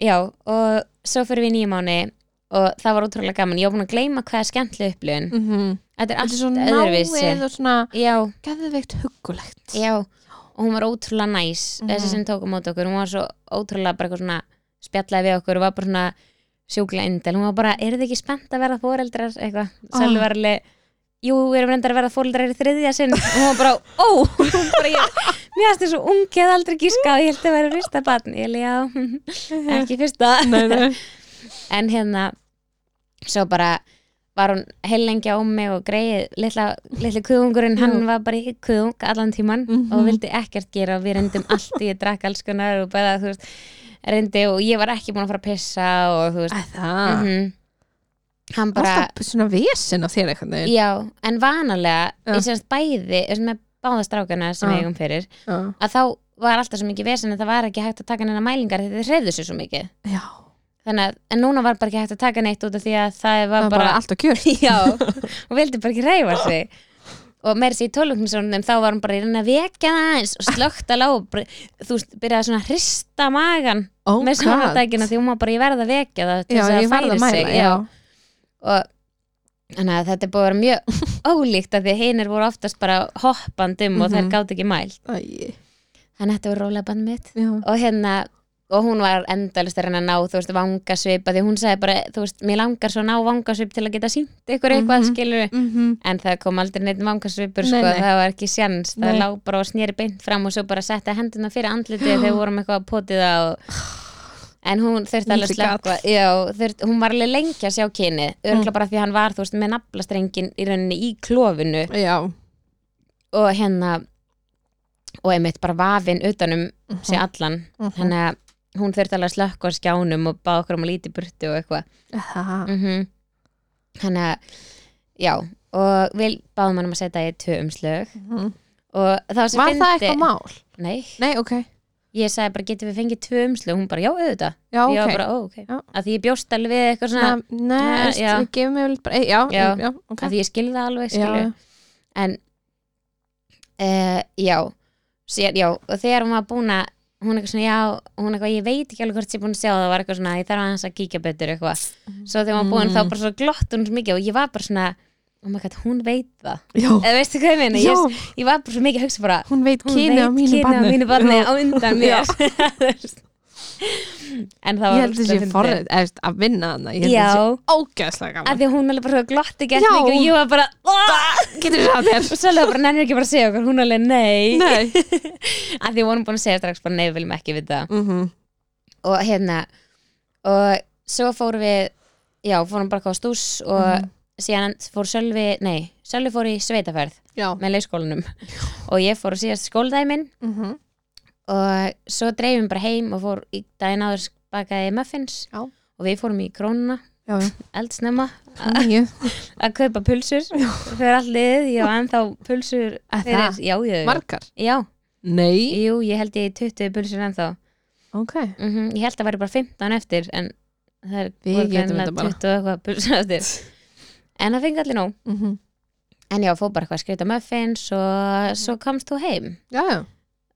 Speaker 1: já, og svo fyrir við í nýju mánu og það var ótrúlega gaman ég var búin að gleyma hvað er skemmtileg upplifun
Speaker 2: mm
Speaker 1: þetta er
Speaker 2: þetta er svo
Speaker 1: allt öðruvísi
Speaker 2: náið og svona
Speaker 1: já,
Speaker 2: geðveikt huggulegt
Speaker 1: já, og hún var ótrúlega næs
Speaker 2: Mhm.
Speaker 1: þessi sem tók á móti okkur, hún var svo ótrúlega bara eitthvað svona spjallaði við okkur og var bara svona sjúkla indel, hún var bara, er þið ekki spennt að verða fóreldrar, eitthvað,
Speaker 2: Ah.
Speaker 1: Sölvi var alveg jú, við erum reyndar að verða fóreldrar í þriðja sinn og hún var bara, ó hún bara, ég, mér varst þessu ungi að aldrei gíska og ég held að vera fyrsta barn ég alveg, já, ekki fyrsta
Speaker 2: Nei, nei.
Speaker 1: en hérna svo bara var hún heilengja á mig og greið litla, litla kuðungurinn, hann var bara í kuðung allan tíman
Speaker 2: Mhm.
Speaker 1: og vildi ekkert gera og við reyndum allt, ég drakk alls konar og bara, þú veist, reyndi og ég var ekki búin að fara að pissa og þú veist
Speaker 2: Æ,
Speaker 1: mm
Speaker 2: Það
Speaker 1: hann bara,
Speaker 2: Alltaf svona vesen á þér einhvern veginn
Speaker 1: já, en vanalega
Speaker 2: Já. Ah.
Speaker 1: ég semst bæði, eins og með báðastrákana sem
Speaker 2: Já.
Speaker 1: við eigum fyrir,
Speaker 2: Já.
Speaker 1: að þá var alltaf svo mikið vesen að það var ekki hægt að taka neina mælingar því þið reyðu sér svo mikið
Speaker 2: Já,
Speaker 1: þannig að, en núna var bara ekki hægt að taka neitt út af því að það var
Speaker 2: það var
Speaker 1: bara
Speaker 2: bara allt á kjör
Speaker 1: Já, hún vildi bara ekki reyfa sig og meira sér í tólugnisrónum þá var hún bara í reyna að vekja það aðeins og slögt að lág og bara- þú veist, byrjaði svona að hrista magan
Speaker 2: Oh
Speaker 1: með
Speaker 2: god.
Speaker 1: smáðdækina því hún var bara ég verð að vekja það til
Speaker 2: Já,
Speaker 1: þess að
Speaker 2: ég
Speaker 1: það
Speaker 2: verð
Speaker 1: færi
Speaker 2: að mæla
Speaker 1: sig
Speaker 2: já.
Speaker 1: og þannig að þetta er búið að vera mjög ólíkt af því að hinir voru oftast bara hoppandum og þær
Speaker 2: Mhm.
Speaker 1: gátt ekki mælt
Speaker 2: Æ,
Speaker 1: þannig að þetta var rólega band mitt
Speaker 2: já.
Speaker 1: og hérna og hún var endalist að reyna að ná þú veist vangasvip að því hún sagði bara þú veist, mér langar svo að ná vangasvip til að geta sínt ykkur eitthvað mm
Speaker 2: Mhm. Mhm.
Speaker 1: en það kom aldrei neitt vangasvipur
Speaker 2: Nei,
Speaker 1: sko,
Speaker 2: nei.
Speaker 1: það var ekki sjans það
Speaker 2: Nei.
Speaker 1: lá bara og snýri beint fram og svo bara setti hendina fyrir andlitið þegar við vorum eitthvað að poti það og... en hún þurfti alveg
Speaker 2: Lítið
Speaker 1: slökka
Speaker 2: gat. Mm.
Speaker 1: já, þurft, hún var alveg lengi að sjá kynið örgla bara því að hann var, þú veist, með naflastrengin í rauninni í klófinu
Speaker 2: já.
Speaker 1: og hérna og einmitt bara vafinn utanum uh sig allan,
Speaker 2: Mhm.
Speaker 1: þannig að hún þurfti alveg að slökka á skjánum og bá okkur um að líti burtu og eitthvað
Speaker 2: Það.
Speaker 1: -hmm. Þannig að, já, og við báðum hann um að setja í tvö umslög
Speaker 2: Mhm.
Speaker 1: og það var svo
Speaker 2: Var það eitthvað mál?
Speaker 1: Nei,
Speaker 2: Nei, ok
Speaker 1: ég sagði bara, getum við fengið tvö umslög? Hún bara, já, auðvitað.
Speaker 2: Já,
Speaker 1: Ég var
Speaker 2: ok
Speaker 1: bara, ó, ok.
Speaker 2: Já.
Speaker 1: Að því ég bjóst alveg við eitthvað svona,
Speaker 2: Nei,
Speaker 1: Já,
Speaker 2: nei,
Speaker 1: já.
Speaker 2: það gefur mér vel bara Já,
Speaker 1: Já.
Speaker 2: já, ok
Speaker 1: að því ég skilði það alveg,
Speaker 2: Já,
Speaker 1: skilju. En, uh, já, sér, já, og þegar hún var búin að, hún eitthvað svona, já, hún eitthvað, ég veit ekki alveg hvort ég er búin að sjá það, var eitthvað svona, ég þarf aðeins að kíkja betur eitthvað. Svo þegar hún var búin
Speaker 2: Mm.
Speaker 1: þá bara svo glott hún svo mikið og ég var bara svona, oh my god, hún veit það.
Speaker 2: já.
Speaker 1: Eða veistu hvað ég meina?
Speaker 2: já.
Speaker 1: Ég, ég var bara svo mikið að hugsa bara
Speaker 2: Hún veit
Speaker 1: Eh, hún
Speaker 2: kyni á
Speaker 1: veit
Speaker 2: mínu
Speaker 1: kyni á
Speaker 2: barni
Speaker 1: mínu barni
Speaker 2: Já.
Speaker 1: á undan
Speaker 2: Já.
Speaker 1: mér En það var
Speaker 2: Ég held
Speaker 1: ógeðslega
Speaker 2: þessi
Speaker 1: fyndið.
Speaker 2: forrið eftir að vinna hana Ég held
Speaker 1: Já,
Speaker 2: þessi ógeðslega
Speaker 1: af
Speaker 2: gaman
Speaker 1: því að hún alveg bara svo glotti gett
Speaker 2: Já.
Speaker 1: mikið og ég var bara "Ah!"
Speaker 2: Getur það þér?
Speaker 1: og svolítið bara nennir ekki bara að segja okkur hún alveg nei,
Speaker 2: Nei
Speaker 1: af því að hún búin að segja strax bara nei, við viljum ekki við það
Speaker 2: Mhm.
Speaker 1: og hérna og svo fórum við já, fórum bara hvað á stús og
Speaker 2: Mhm.
Speaker 1: síðan fór Sölvi, nei Sölvi fór í sveitaferð
Speaker 2: Já
Speaker 1: með leikskólanum og ég fór á síðast skóldæmin
Speaker 2: Mhm.
Speaker 1: og svo dreifum bara heim og fór í daginn áður bakaði muffins
Speaker 2: Já.
Speaker 1: og við fórum í krónuna
Speaker 2: Já, já
Speaker 1: eldsnemma
Speaker 2: Frá nýju.
Speaker 1: að kaupa pulsur fyrir allir, ég var ennþá pulsur
Speaker 2: Að
Speaker 1: fyrir,
Speaker 2: það?
Speaker 1: já, ég,
Speaker 2: Margar
Speaker 1: já,
Speaker 2: Nei
Speaker 1: jú, ég held ég í 20 pulsur ennþá,
Speaker 2: Ok
Speaker 1: mm ég held að væri bara 15 eftir en það er
Speaker 2: Við getum þetta bara.
Speaker 1: 20 og eitthvað pulsur eftir en það fengi allir nóg
Speaker 2: Mhm.
Speaker 1: en já, fór bara eitthvað að skreita muffins og svo komst þú heim
Speaker 2: Já, já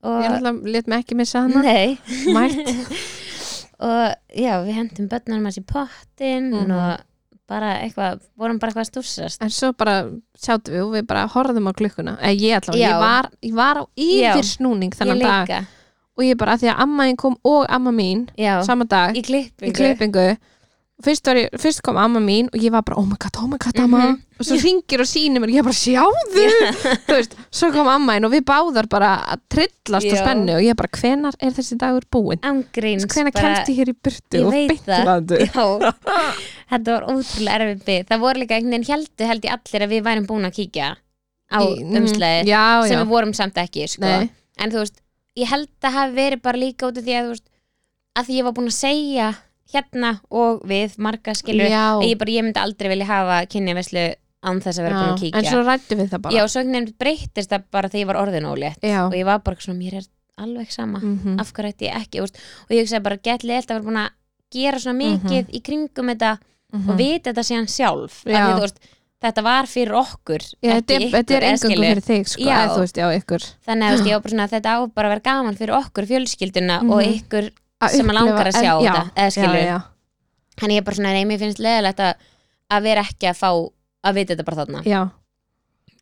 Speaker 2: Ég
Speaker 1: og,
Speaker 2: náttúrulega let mig ekki missa hana
Speaker 1: nei,
Speaker 2: Mært
Speaker 1: og já, við hendum börnunum hans í pottin
Speaker 2: Mhm.
Speaker 1: og bara eitthvað, vorum bara eitthvað að stússast
Speaker 2: En svo bara sjáttum við og við bara horfðum á klukkuna Eða ég allavega,
Speaker 1: Já.
Speaker 2: ég var, ég var á yfir snúning
Speaker 1: ég
Speaker 2: þannan dag
Speaker 1: líka,
Speaker 2: Og ég bara, af því að amma þín kom og amma mín
Speaker 1: já,
Speaker 2: Sama dag,
Speaker 1: í klippingu
Speaker 2: í klippingu Fyrst, var ég, fyrst kom amma mín og ég var bara oh my god, oh my god amma
Speaker 1: Mhm.
Speaker 2: og svo ringir og sýnir mér, ég bara sjáðu þú veist, svo kom amma inn og við báðar bara að trillast og
Speaker 1: Já.
Speaker 2: spennu og ég bara, hvenar er þessi dagur búinn
Speaker 1: ángríns
Speaker 2: hvenar kemst ég hér í burtu
Speaker 1: Ég
Speaker 2: og
Speaker 1: veit það.
Speaker 2: beintlandi
Speaker 1: Já, þetta var ótrúlega erfið bið. Það voru líka einhvern veginn heldu held í allir að við værum búin að kíkja á umslæði
Speaker 2: mm, já,
Speaker 1: sem
Speaker 2: já,
Speaker 1: við vorum samt ekki, sko.
Speaker 2: Nei.
Speaker 1: En þú veist, ég held að hafi verið bara líka út af því að þú veist, að því ég var búin að segja hérna og við marga skilur,
Speaker 2: já,
Speaker 1: að ég bara, ég myndi aldrei vilja hafa kynjaverslu án þess að vera búin að
Speaker 2: já.
Speaker 1: kíkja.
Speaker 2: en svo rættum við það bara
Speaker 1: já, og svo einhvern veginn breyttist það bara þegar ég var orðin ólétt
Speaker 2: já.
Speaker 1: og ég var bara svona, mér er alveg sama
Speaker 2: Mhm.
Speaker 1: af hverju ætti ég ekki úst, og ég hugsaði bara gett leilt að vera búin að gera svona mikið í kringum þetta og
Speaker 2: Mhm.
Speaker 1: vita þetta síðan sjálf Af því,
Speaker 2: Já.
Speaker 1: þú veist, þetta var fyrir okkur
Speaker 2: Já, þetta
Speaker 1: ekki
Speaker 2: er- þetta
Speaker 1: ykkur,
Speaker 2: er
Speaker 1: eða
Speaker 2: engungu
Speaker 1: skilur.
Speaker 2: fyrir þig sko,
Speaker 1: Já.
Speaker 2: eða þú veist, já, ykkur
Speaker 1: þannig að þú veist, ég var bara svona, þetta á bara að vera gaman fyrir okkur fjölskylduna og
Speaker 2: Mhm.
Speaker 1: ykkur
Speaker 2: Að
Speaker 1: sem að
Speaker 2: upplifa-
Speaker 1: langar að
Speaker 2: en-
Speaker 1: sjá
Speaker 2: já,
Speaker 1: þetta eða skilur,
Speaker 2: já, já.
Speaker 1: þannig ég er bara svona, nei, mér finnst leðilegt að, að vera ekki að fá að vita þetta bara þarna
Speaker 2: Já.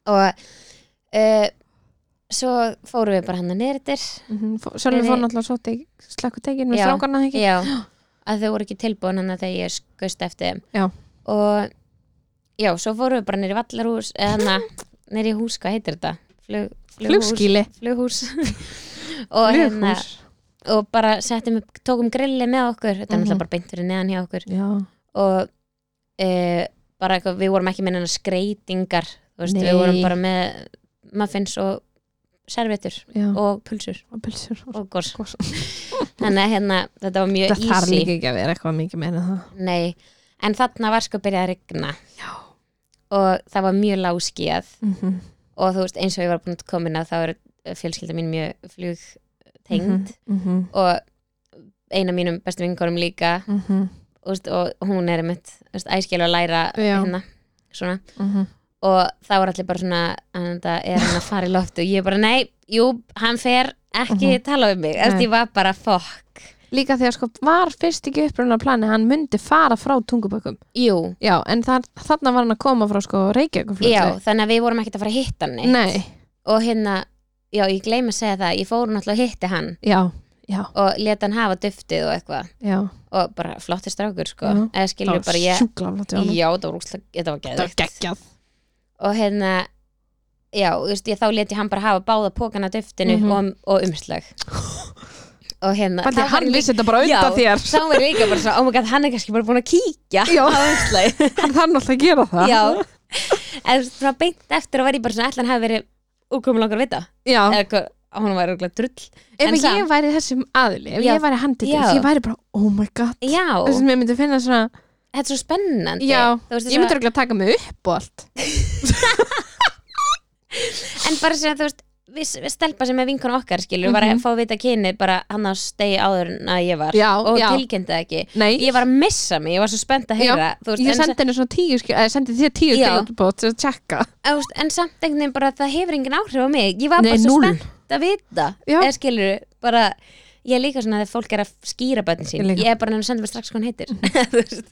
Speaker 1: og uh, svo fórum við bara hann að neyritir
Speaker 2: Mhm. Fó- Sölvi
Speaker 1: Nei,
Speaker 2: fór
Speaker 1: nei.
Speaker 2: náttúrulega svo til slakkutekin með
Speaker 1: Já.
Speaker 2: strákarna ekki
Speaker 1: Já, að þau voru ekki tilbúin hann að þegar ég skust eftir þeim
Speaker 2: Já.
Speaker 1: og já, svo fórum við bara nýri vallarhús eða hann nýri hús, hvað heitir þetta? Flug,
Speaker 2: Flugskýli.
Speaker 1: flughús og, hérna,
Speaker 2: Flughús.
Speaker 1: og bara settum upp, tókum grilli með okkur þetta er
Speaker 2: Mhm.
Speaker 1: náttúrulega bara beint fyrir neðan hjá okkur
Speaker 2: Já.
Speaker 1: og e, bara eitthvað, við vorum ekki með neina skreitingar þú veist, við
Speaker 2: Nei.
Speaker 1: vorum bara með muffins og servetur
Speaker 2: Já.
Speaker 1: og pulsur
Speaker 2: og pulsur og
Speaker 1: og gors
Speaker 2: gos.
Speaker 1: þannig að hérna, þetta var mjög
Speaker 2: það þarf
Speaker 1: easy
Speaker 2: líka ekki að vera eitthvað mikið meira en það
Speaker 1: Nei, en þarna var sko byrjað að rigna
Speaker 2: Já.
Speaker 1: og það var mjög láskíð
Speaker 2: mm -hmm.
Speaker 1: og þú veist eins og ég var búin að koma inn á þá er fjölskylda mín mjög flugtengd
Speaker 2: Mm -hmm.
Speaker 1: og eina af mínum bestu vingurum líka
Speaker 2: Mm -hmm.
Speaker 1: þú veist, og hún er mitt æskil að læra
Speaker 2: Já.
Speaker 1: hérna svona
Speaker 2: Mhm.
Speaker 1: og þá var allir bara svona að þetta er hann að fara í loft og ég bara nei, jú, hann fer ekki tala um mig, þess að
Speaker 2: Mhm. Nei.
Speaker 1: ég var bara fokk
Speaker 2: líka þegar sko var fyrst ekki upprunna plani hann myndi fara frá tungubökkum
Speaker 1: Jú,
Speaker 2: já, en þar, þarna var hann að koma frá sko Reykjavík
Speaker 1: já, þannig að við vorum ekkert að fara að hitta hann neitt.
Speaker 2: nei,
Speaker 1: og hérna, já ég gleymi að segja það ég fór náttúrulega að hitti hann
Speaker 2: já, já,
Speaker 1: og leta hann hafa duftið og eitthvað
Speaker 2: já
Speaker 1: og bara flottir strákur sko
Speaker 2: Já.
Speaker 1: eða skilur bara ég
Speaker 2: sjúklaflátt
Speaker 1: já þetta var, úrsla, þetta var
Speaker 2: þetta var
Speaker 1: geðvikt
Speaker 2: geggjað
Speaker 1: og hérna já þú veist, ég, þá leti hann bara hafa báða pókana duftinu
Speaker 2: Mhm.
Speaker 1: og, og umslag og hérna
Speaker 2: Bæti,
Speaker 1: þá var
Speaker 2: hann
Speaker 1: ég líka-
Speaker 2: vissi þetta bara
Speaker 1: Já,
Speaker 2: undan þér
Speaker 1: þá var ég líka bara svona, oh my god, hann er kannski bara búin að kíkja
Speaker 2: Já.
Speaker 1: á umslag
Speaker 2: hann þannig alltaf að gera það
Speaker 1: já en svona beint eftir og var ég bara svona ætlan hafi verið úrkomið langar að vita
Speaker 2: Já.
Speaker 1: eða eitthvað, hún var rúglega drull
Speaker 2: ef
Speaker 1: en samt-
Speaker 2: ég væri þessum aðli ef
Speaker 1: Já.
Speaker 2: ég væri handið
Speaker 1: Já.
Speaker 2: ég væri bara, oh my god
Speaker 1: Já,
Speaker 2: þess að mér myndi finna svona
Speaker 1: þetta er svo spennandi
Speaker 2: Já,
Speaker 1: Þú veist,
Speaker 2: ég myndi ekki að taka mig upp og allt
Speaker 1: svo, En bara sem þú veist við, við stelpa sem er vinkona okkar skilur var
Speaker 2: Mhm.
Speaker 1: að fá að vita kynið bara hann á stegi áður en að ég var
Speaker 2: Já,
Speaker 1: og
Speaker 2: já.
Speaker 1: tilkynnti það ekki
Speaker 2: Nei,
Speaker 1: Ég var að missa mig, ég var svo spennt að heyra þú veist,
Speaker 2: ég
Speaker 1: en,
Speaker 2: sendi henni svona tíu skil, eða sendi þér tíu
Speaker 1: Já.
Speaker 2: skilabót til að tjekka
Speaker 1: sa- þú veist, en samt einhvern veginn bara það hefur engin áhrif á mig Ég var
Speaker 2: Nei,
Speaker 1: bara svo
Speaker 2: núll.
Speaker 1: spennt að vita
Speaker 2: Já.
Speaker 1: eða skilur bara Ég er líka svona að fólk er að skýra bönni sín
Speaker 2: Ég líka.
Speaker 1: Ég er bara að senda mér strax hvað hann heitir Þú veist.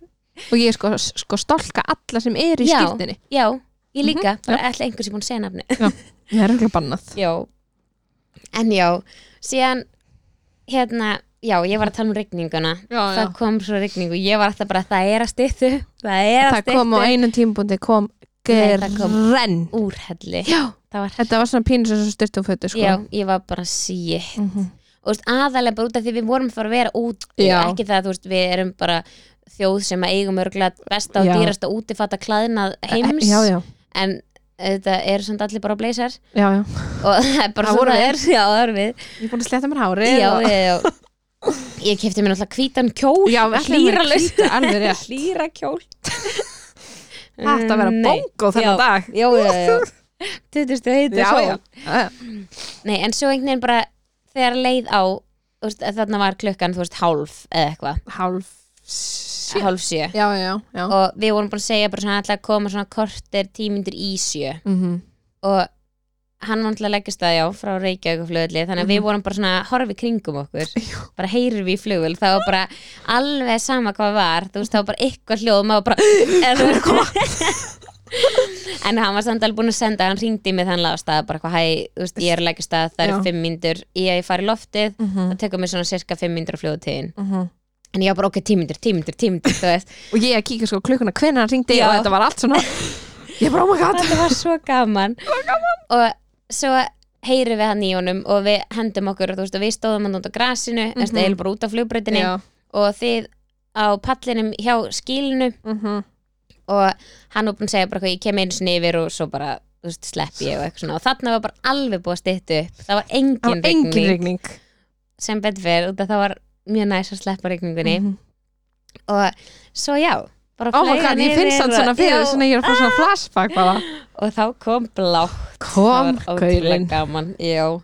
Speaker 2: og ég sko, sko stolka alla sem er í
Speaker 1: Já.
Speaker 2: skiltinni
Speaker 1: Já,
Speaker 2: Mhm,
Speaker 1: ég líka, bara ætla einhvers ég búin að segja nafni
Speaker 2: það er okkur bannað
Speaker 1: Já, en já, síðan hérna, já, ég var að tala um rigninguna
Speaker 2: Já,
Speaker 1: það kom svo rigningu, ég var alltaf bara það er að styttu, það er að
Speaker 2: það
Speaker 1: styttu
Speaker 2: kom á einum tímpundi kom
Speaker 1: Nei, það kom-
Speaker 2: grenn
Speaker 1: úrhelli,
Speaker 2: já,
Speaker 1: það var
Speaker 2: þetta var svona pínu sem styrt og fötu sko
Speaker 1: já, ég var bara sítt
Speaker 2: Mhm.
Speaker 1: og þú veist, aðalega bara út af því við vorum fyrir að vera út
Speaker 2: Já.
Speaker 1: ekki það, þú veist, við erum bara þjóð sem að eigum örgulega besta og
Speaker 2: Já. Eh,
Speaker 1: dýrasta útifatta klæðnað heims
Speaker 2: já, já,
Speaker 1: en þetta er svona allir bara á blazer
Speaker 2: já, já.
Speaker 1: og það er bara
Speaker 2: Það
Speaker 1: svona
Speaker 2: vorum
Speaker 1: það er, já, það erum við
Speaker 2: ég er búin að sletta mér hári
Speaker 1: já, já, já. ég kefti mér náttúrulega hvítan kjól
Speaker 2: já
Speaker 1: hlýra laus
Speaker 2: alveg rétt
Speaker 1: hlýra kjól
Speaker 2: þetta að vera
Speaker 1: Mm, Nei.
Speaker 2: bongo
Speaker 1: Já.
Speaker 2: þennan dag
Speaker 1: já, já, já tuttustu heita
Speaker 2: já, já,
Speaker 1: svo
Speaker 2: já,
Speaker 1: nei, en svo einhvern veginn bara þegar leið á þú veist, þarna var klukkan, þú veist, hálf eða eitthvað,
Speaker 2: hálf sjö.
Speaker 1: hálf sjö
Speaker 2: já, já, já
Speaker 1: og við vorum búin að segja bara svona alltaf að koma svona kortir tímindur í sjö
Speaker 2: Mhm.
Speaker 1: og hann var náttúrulega að leggja staði á frá Reykjavík og flugulli þannig að við vorum bara svona að horfa í kringum okkur bara heyrir við í flugul þá var bara alveg sama hvað var þú veist þá var bara eitthvað hljóð og maður bara er það að koma en hann var samt alveg búin að senda hann ringdi mig þannig að staða bara hvað hæ þú veist ég er að leggja stað það
Speaker 2: Já.
Speaker 1: eru fimm mínútur í að ég fari loftið
Speaker 2: Mhm.
Speaker 1: það tekur mér svona cirka fimm mínútur á flugutiðin en ég var bara ok, tímyndur, tímyndur, tímyndur þú veist
Speaker 2: og ég að kíka sko á klukkuna hvenær hann ringdi
Speaker 1: Já.
Speaker 2: og þetta var allt svona ég bara oh my god
Speaker 1: þetta var svo gaman. og svo heyrum við hann í honum og við hendum okkur þú veist, og við stóðum hann út á grasinu mm -hmm. eða bara út á flugbrautinni
Speaker 2: Já.
Speaker 1: og þið á pallinum hjá skilinu
Speaker 2: Mhm.
Speaker 1: og hann var búinn að segja bara hvað ég kem einu sinni yfir og svo bara þú veist, slepp ég og eitthvað svona og þarna var bara alveg búið að styttu upp það var
Speaker 2: það
Speaker 1: engin
Speaker 2: var engin
Speaker 1: rigning
Speaker 2: rigning
Speaker 1: sem betur fyrir út að það var mjög næs að sleppa rigningunni
Speaker 2: Mhm.
Speaker 1: og svo já bara
Speaker 2: oh my
Speaker 1: flaug
Speaker 2: god
Speaker 1: hann
Speaker 2: ég
Speaker 1: yfir
Speaker 2: finnst það
Speaker 1: og-
Speaker 2: svona fyrir
Speaker 1: Já,
Speaker 2: svona ég er að fá svona flashback bara
Speaker 1: og þá kom blátt
Speaker 2: kom
Speaker 1: það var ótrúlega
Speaker 2: gaurinn
Speaker 1: gaman já.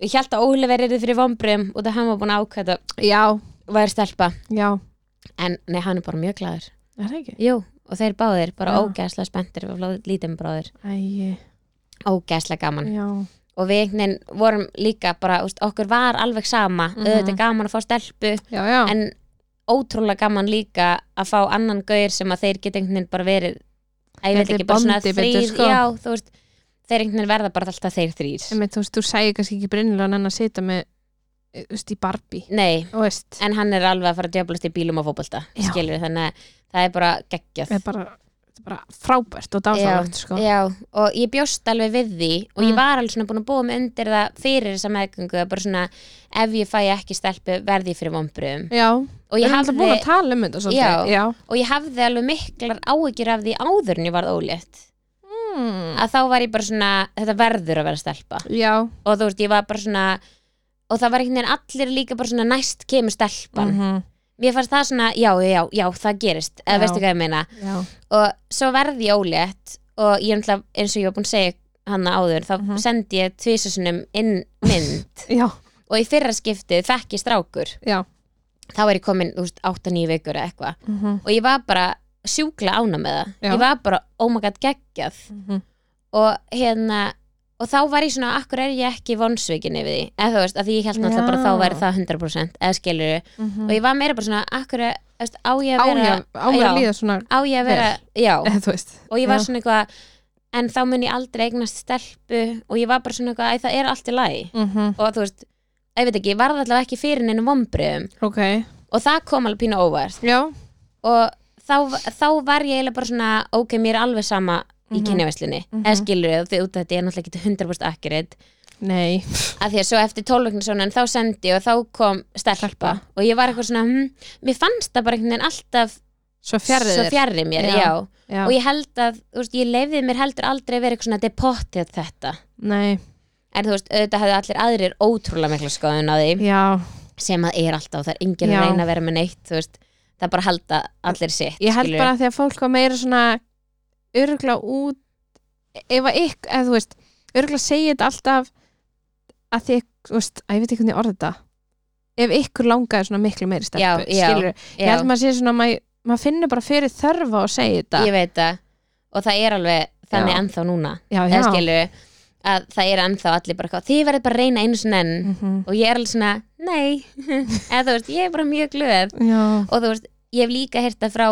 Speaker 1: ég held að Ólífer er fyrir vombriðum og það hann var búin að ákvæða
Speaker 2: já
Speaker 1: væri stelpa
Speaker 2: já
Speaker 1: en nei, hann er bara mjög glæður
Speaker 2: er það ekki
Speaker 1: Jú, og þeir báðir, bara
Speaker 2: Já.
Speaker 1: ógæslega spenntir og flóð- lítum bráðir,
Speaker 2: Æi,
Speaker 1: ógæslega gaman
Speaker 2: já
Speaker 1: og við einhvern veginn vorum líka bara, úst, okkur var alveg sama
Speaker 2: Mhm.
Speaker 1: auðvitað er gaman að fá stelpu
Speaker 2: já já
Speaker 1: en ótrúlega gaman líka að fá annan gaur sem að þeir geta einhvern veginn bara verið að ég
Speaker 2: Já,
Speaker 1: veit
Speaker 2: þeir
Speaker 1: ekki, bara svona
Speaker 2: bondi
Speaker 1: þrýr
Speaker 2: betur, sko.
Speaker 1: já, þú veist, þeir einhvern veginn verða bara alltaf þeir þrýr
Speaker 2: Einmitt, þú veist, þú sæði kannski ekki brinnilega en að sita með eh, þú veist, í Barbie
Speaker 1: nei,
Speaker 2: og veist,
Speaker 1: en hann er alveg að fara að djöflast í bílum og fótbolta
Speaker 2: Já.
Speaker 1: skilur þannig að það er bara geggjað
Speaker 2: það er bara, þetta er bara frábært og dásamlegt sko.
Speaker 1: Já, og ég bjóst alveg við því og
Speaker 2: Mm.
Speaker 1: ég var alveg svona búin að búa mig undir það fyrir þessa meðgöngu að bara svona ef ég fæ ekki stelpu verði ég fyrir vonbröðum
Speaker 2: já,
Speaker 1: og
Speaker 2: við
Speaker 1: ég,
Speaker 2: erum alltaf búin
Speaker 1: hafði,
Speaker 2: að tala um þetta svolítið já.
Speaker 1: og ég hafði alveg miklar áhyggjur af því áður en ég varð ólétt
Speaker 2: Mm.
Speaker 1: að þá var ég bara svona, þetta verður að vera stelpa
Speaker 2: já.
Speaker 1: og þú veist, ég var bara svona og það var einhvern veginn allir líka bara svona næst kemur stelpan
Speaker 2: -hmm.
Speaker 1: mér fannst það svona, já, já, já, það gerist eða
Speaker 2: Já.
Speaker 1: veistu hvað ég meina
Speaker 2: já.
Speaker 1: og svo verði ég ólétt og ég ætla, eins og ég var búin að segja hann áður, þá
Speaker 2: Mhm.
Speaker 1: sendi ég tvisasunum inn mynd
Speaker 2: já,
Speaker 1: og í fyrra skiptið fekk ég strákur
Speaker 2: já
Speaker 1: þá er ég komin, þú veist, 8-9 vikur eða eitthvað
Speaker 2: mm -hmm.
Speaker 1: og ég var bara sjúkla ána með það
Speaker 2: Já.
Speaker 1: ég var bara, oh my god, geggjað
Speaker 2: Mhm.
Speaker 1: og hérna og þá var ég svona, akkur er ég ekki vonsvikin yfir því, eða þú veist, að því ég held náttúrulega bara
Speaker 2: Já.
Speaker 1: þá væri það 100% eða skilur og ég var meira bara svona, akkur er, þú veist, á ég að vera
Speaker 2: ámur að
Speaker 1: Já.
Speaker 2: líða svona
Speaker 1: á ég að vera, já
Speaker 2: eh, þú veist,
Speaker 1: og ég var
Speaker 2: Já.
Speaker 1: svona eitthvað en þá mun ég aldrei eignast stelpu og ég var bara svona eitthvað, æ, það er allt í lagi
Speaker 2: mm
Speaker 1: og þú veist, ég veit ekki, ég varð allavega ekki fyrir neinu vombriðum
Speaker 2: ok
Speaker 1: og það kom alveg pínu óvart
Speaker 2: já,
Speaker 1: og þá, þá var ég eiginlega bara svona ok, mér er alveg sama í
Speaker 2: Mhm.
Speaker 1: kynjavæslinni mm
Speaker 2: Mhm.
Speaker 1: eða skilur ég, því út af þetta er náttúrulega ekki 100% akkurat,
Speaker 2: nei
Speaker 1: af því að svo eftir tólvögnu svona, en þá sendi ég og þá kom stelpa,
Speaker 2: Stelpa.
Speaker 1: og ég var eitthvað svona hm, mér fannst það bara einhvern veginn alltaf
Speaker 2: svo fjarrir
Speaker 1: svo fjarrir mér,
Speaker 2: Já.
Speaker 1: já
Speaker 2: já.
Speaker 1: og ég held að, þú veist, ég leiði mér heldur aldrei að vera eitthvað svona depottið þetta
Speaker 2: nei,
Speaker 1: en þú veist, auðvitað hefðu allir aðrir ótrúlega mikla skoðun á því
Speaker 2: já
Speaker 1: sem að er alltaf, það er enginn
Speaker 2: Já.
Speaker 1: að reyna að vera með neitt þú veist, það er bara að halda allir sitt
Speaker 2: ég held
Speaker 1: skilurðu.
Speaker 2: bara að því að fólk var meira svona örgla út ef að ykk, eða þú veist örgla segja þetta alltaf að því, þú veist, að ég veit ekki hvernig ég orða þetta ef ykkur langaði svona miklu meiri
Speaker 1: Já,
Speaker 2: steppu,
Speaker 1: já,
Speaker 2: skilur ég held maður sé svona, maður mað finnur bara fyrir þörfa að segja þetta
Speaker 1: ég veit það og það er alveg þannig
Speaker 2: Já.
Speaker 1: ennþá núna
Speaker 2: já, já,
Speaker 1: eða skilur, að það er ennþá allir bara hvað, þið verður bara að reyna einu sinni enn
Speaker 2: Mhm.
Speaker 1: og ég er alveg svona, nei eða þú veist, ég er bara mjög glöð
Speaker 2: já,
Speaker 1: og þú veist, ég hef líka hérta frá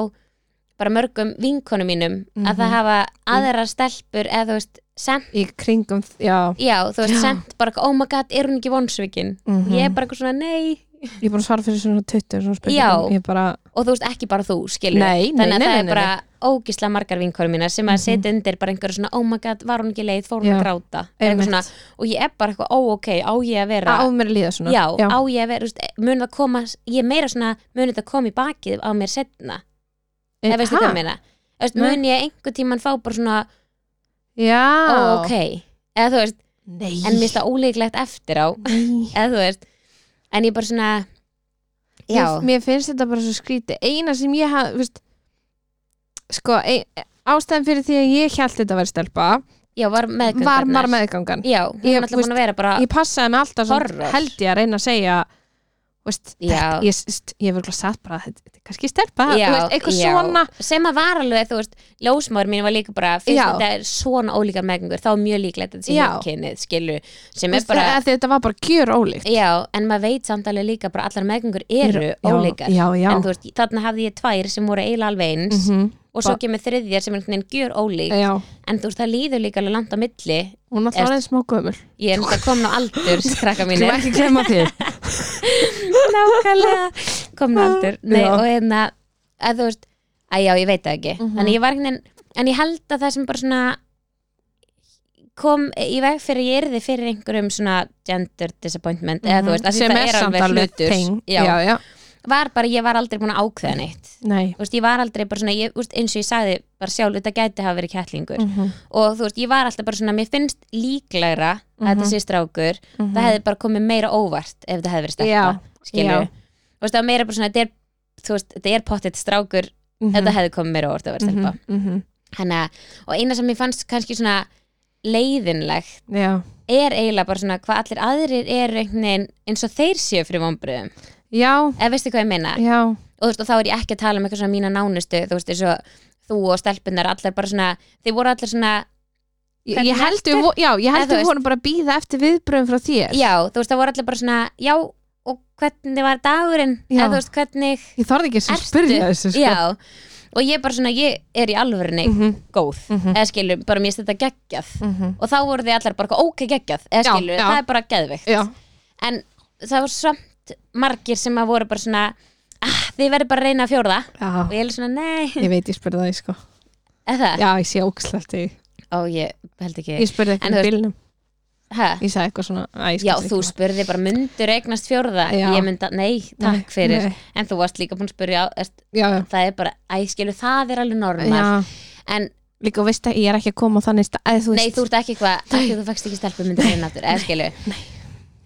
Speaker 1: bara mörgum vinkonum mínum
Speaker 2: Mhm.
Speaker 1: að það hafa aðra stelpur eða þú veist, sent
Speaker 2: í kringum já,
Speaker 1: já, þú veist,
Speaker 2: Já.
Speaker 1: sent bara, oh my god, er hún ekki vonsvikin
Speaker 2: Mhm.
Speaker 1: ég er bara eitthvað svona, nei
Speaker 2: ég er búin að svara fyrir svona 20
Speaker 1: Já.
Speaker 2: svona spurningum, ég bara
Speaker 1: og þú veist, ekki bara þú, skilur
Speaker 2: Nei, nei,
Speaker 1: þannig að
Speaker 2: nei,
Speaker 1: það
Speaker 2: nei, nei,
Speaker 1: er bara ógisla margar vinkonum mína sem að setja undir bara einhverju svona, oh my god, var hún ekki leið, fór hún
Speaker 2: Já.
Speaker 1: að gráta Eða eitthvað svona, og ég er bara eitthvað, ó, ok, á ég að vera
Speaker 2: á mér að líða svona
Speaker 1: já, á ég að vera, þú veist, eh, mun það koma ég er meira svona, mun þetta koma í bakið á mér setna,
Speaker 2: Eh,
Speaker 1: eða veistu hvað ég meina Þú veist,
Speaker 2: Nei.
Speaker 1: mun ég einhvern tíman fá bara svona
Speaker 2: já,
Speaker 1: ó, ok, eða þú veist
Speaker 2: nei,
Speaker 1: en mér það ólíklegt eftir á
Speaker 2: nei
Speaker 1: eða þú veist, en ég bara svona já,
Speaker 2: Mér, mér finnst þetta bara svo skrítið eina sem ég haf veist, sko, ein, ástæðan fyrir því að ég held þetta að vera stelpa
Speaker 1: já, var meðgöngarnar
Speaker 2: var mar meðgangan
Speaker 1: já, hún
Speaker 2: Ég-
Speaker 1: er alltaf
Speaker 2: veist,
Speaker 1: búin að vera bara
Speaker 2: ég passaði mig alltaf samt,
Speaker 1: Horror.
Speaker 2: held ég að reyna að segja þú veist,
Speaker 1: Já.
Speaker 2: þetta, ég, st, ég hef örugglega sagt bara þetta, þetta er kannski stelpa,
Speaker 1: Já,
Speaker 2: þú veist, eitthvað
Speaker 1: já.
Speaker 2: svona
Speaker 1: sem að var alveg, þú veist, ljósmáður mín var líka bara, fyrst
Speaker 2: Já.
Speaker 1: þetta er svona ólíkar megningur, þá er mjög líklegt að þetta sé
Speaker 2: Já.
Speaker 1: hinkynið, skilu, sem
Speaker 2: Þú
Speaker 1: er
Speaker 2: veist,
Speaker 1: bara,
Speaker 2: að þetta var bara gjör ólíkt
Speaker 1: já, en maður veit samt alveg líka bara allar megningur eru ólíkar
Speaker 2: já, já,
Speaker 1: en þú veist, þarna hafði ég tvær sem voru eiginlega alveg eins
Speaker 2: Mhm.
Speaker 1: og svo kemur þriðjar sem einhvern veginn gjör ólík
Speaker 2: já.
Speaker 1: en þú veist, það líður líka alveg langt á milli
Speaker 2: hún
Speaker 1: Erst-
Speaker 2: alltaf aðeins smá gömul
Speaker 1: ég er náttúrulega komin á aldur, krakka
Speaker 2: þú
Speaker 1: mínir
Speaker 2: ekki glemma því
Speaker 1: nákvæmlega komin á aldur Nei,
Speaker 2: Já.
Speaker 1: og hérna, að þú veist að já, ég veit það ekki
Speaker 2: Mhm.
Speaker 1: Þannig ég var einhvern veginn, en ég held að það sem bara svona kom í veg fyrir ég erði fyrir einhverjum svona gender disappointment eða þú veist, að því
Speaker 2: sem
Speaker 1: það
Speaker 2: er samt alveg
Speaker 1: hlutur
Speaker 2: teng
Speaker 1: já,
Speaker 2: já, já,
Speaker 1: var bara, ég var aldrei búin að ákveða neitt
Speaker 2: nei
Speaker 1: þú veist, ég var aldrei bara svona, ég, þú veist, eins og ég sagði bara sjálf, þetta gæti hafa verið kettlingur
Speaker 2: Mhm,
Speaker 1: og þú veist, ég var alltaf bara svona, mér finnst líklegra að þetta
Speaker 2: Mhm.
Speaker 1: sé strákur
Speaker 2: mhm.
Speaker 1: það hefði bara komið meira óvart ef þetta hefði verið
Speaker 2: Já,
Speaker 1: stelpa skilju,
Speaker 2: já.
Speaker 1: þú veist, það var meira bara svona þetta er, þú veist, þetta er pottitt strákur
Speaker 2: Mhm,
Speaker 1: þetta hefði komið meira óvart að vera stelpa
Speaker 2: mhm, mhm.
Speaker 1: þannig að, og eina sem ég fannst kannski svona leiðinlegt
Speaker 2: já,
Speaker 1: er eiginlega bara svona hvað allir aðrir eru einhvern veginn eins og þeir séu fyrir vonbröðum
Speaker 2: já,
Speaker 1: eða veistu hvað ég meina
Speaker 2: já
Speaker 1: og þú veist og þá er ég ekki að tala um eitthvað svona mína nánustu þú veist eins og þú og stelpunar allar bara svona, þið voru allar svona
Speaker 2: Ég-
Speaker 1: Hvernig
Speaker 2: ég held við
Speaker 1: ertu?
Speaker 2: vo- já, ég
Speaker 1: Eða
Speaker 2: held
Speaker 1: þú
Speaker 2: við
Speaker 1: veist-
Speaker 2: vorum bara að býða eftir viðbröðum frá þér
Speaker 1: já, þú veist það voru allar bara svona já, og hvernig var dagurinn
Speaker 2: Já.
Speaker 1: eða þú veist hvernig,
Speaker 2: ég þorði ekki sem
Speaker 1: Ertu?
Speaker 2: spyrja þessu sko.
Speaker 1: já og ég bara svona, ég er í alvörinni
Speaker 2: Mhm,
Speaker 1: góð,
Speaker 2: mhm,
Speaker 1: eða skilur, bara mér stætt að geggjað
Speaker 2: mhm.
Speaker 1: og þá voru þið allar bara eitthvað, ok geggjað eða
Speaker 2: Já,
Speaker 1: skilur,
Speaker 2: já.
Speaker 1: það er bara geðveikt
Speaker 2: já,
Speaker 1: en það voru samt margir sem að voru bara svona ah, þið verður bara að reyna að fjórða
Speaker 2: já
Speaker 1: og ég er svona, nei,
Speaker 2: Ég veit, ég spurði það, ég sko.
Speaker 1: eða það
Speaker 2: Já, ég sé ógslegt í.
Speaker 1: ó, ég held ekki,
Speaker 2: Ég spurði
Speaker 1: En
Speaker 2: eitthvað
Speaker 1: þú
Speaker 2: í
Speaker 1: veist-
Speaker 2: bílnum.
Speaker 1: hæ?
Speaker 2: Ég sagði eitthvað svona, að ég
Speaker 1: Já,
Speaker 2: skil
Speaker 1: þú
Speaker 2: ekki.
Speaker 1: spurði bara myndur eignast fjórða
Speaker 2: Já.
Speaker 1: ég mynda, nei, takk
Speaker 2: Nei,
Speaker 1: fyrir
Speaker 2: nei.
Speaker 1: en þú varst líka búin að spurja erst,
Speaker 2: Já, já.
Speaker 1: það er bara, æ, skilu, það er alveg normal
Speaker 2: Já,
Speaker 1: en
Speaker 2: líka og veist að ég er ekki að koma á þannig stað, eða þú
Speaker 1: nei,
Speaker 2: veist.
Speaker 1: þú ert ekki eitthvað, takk fyrir þú fækst ekki stelpu myndur einn aftur, eða skilu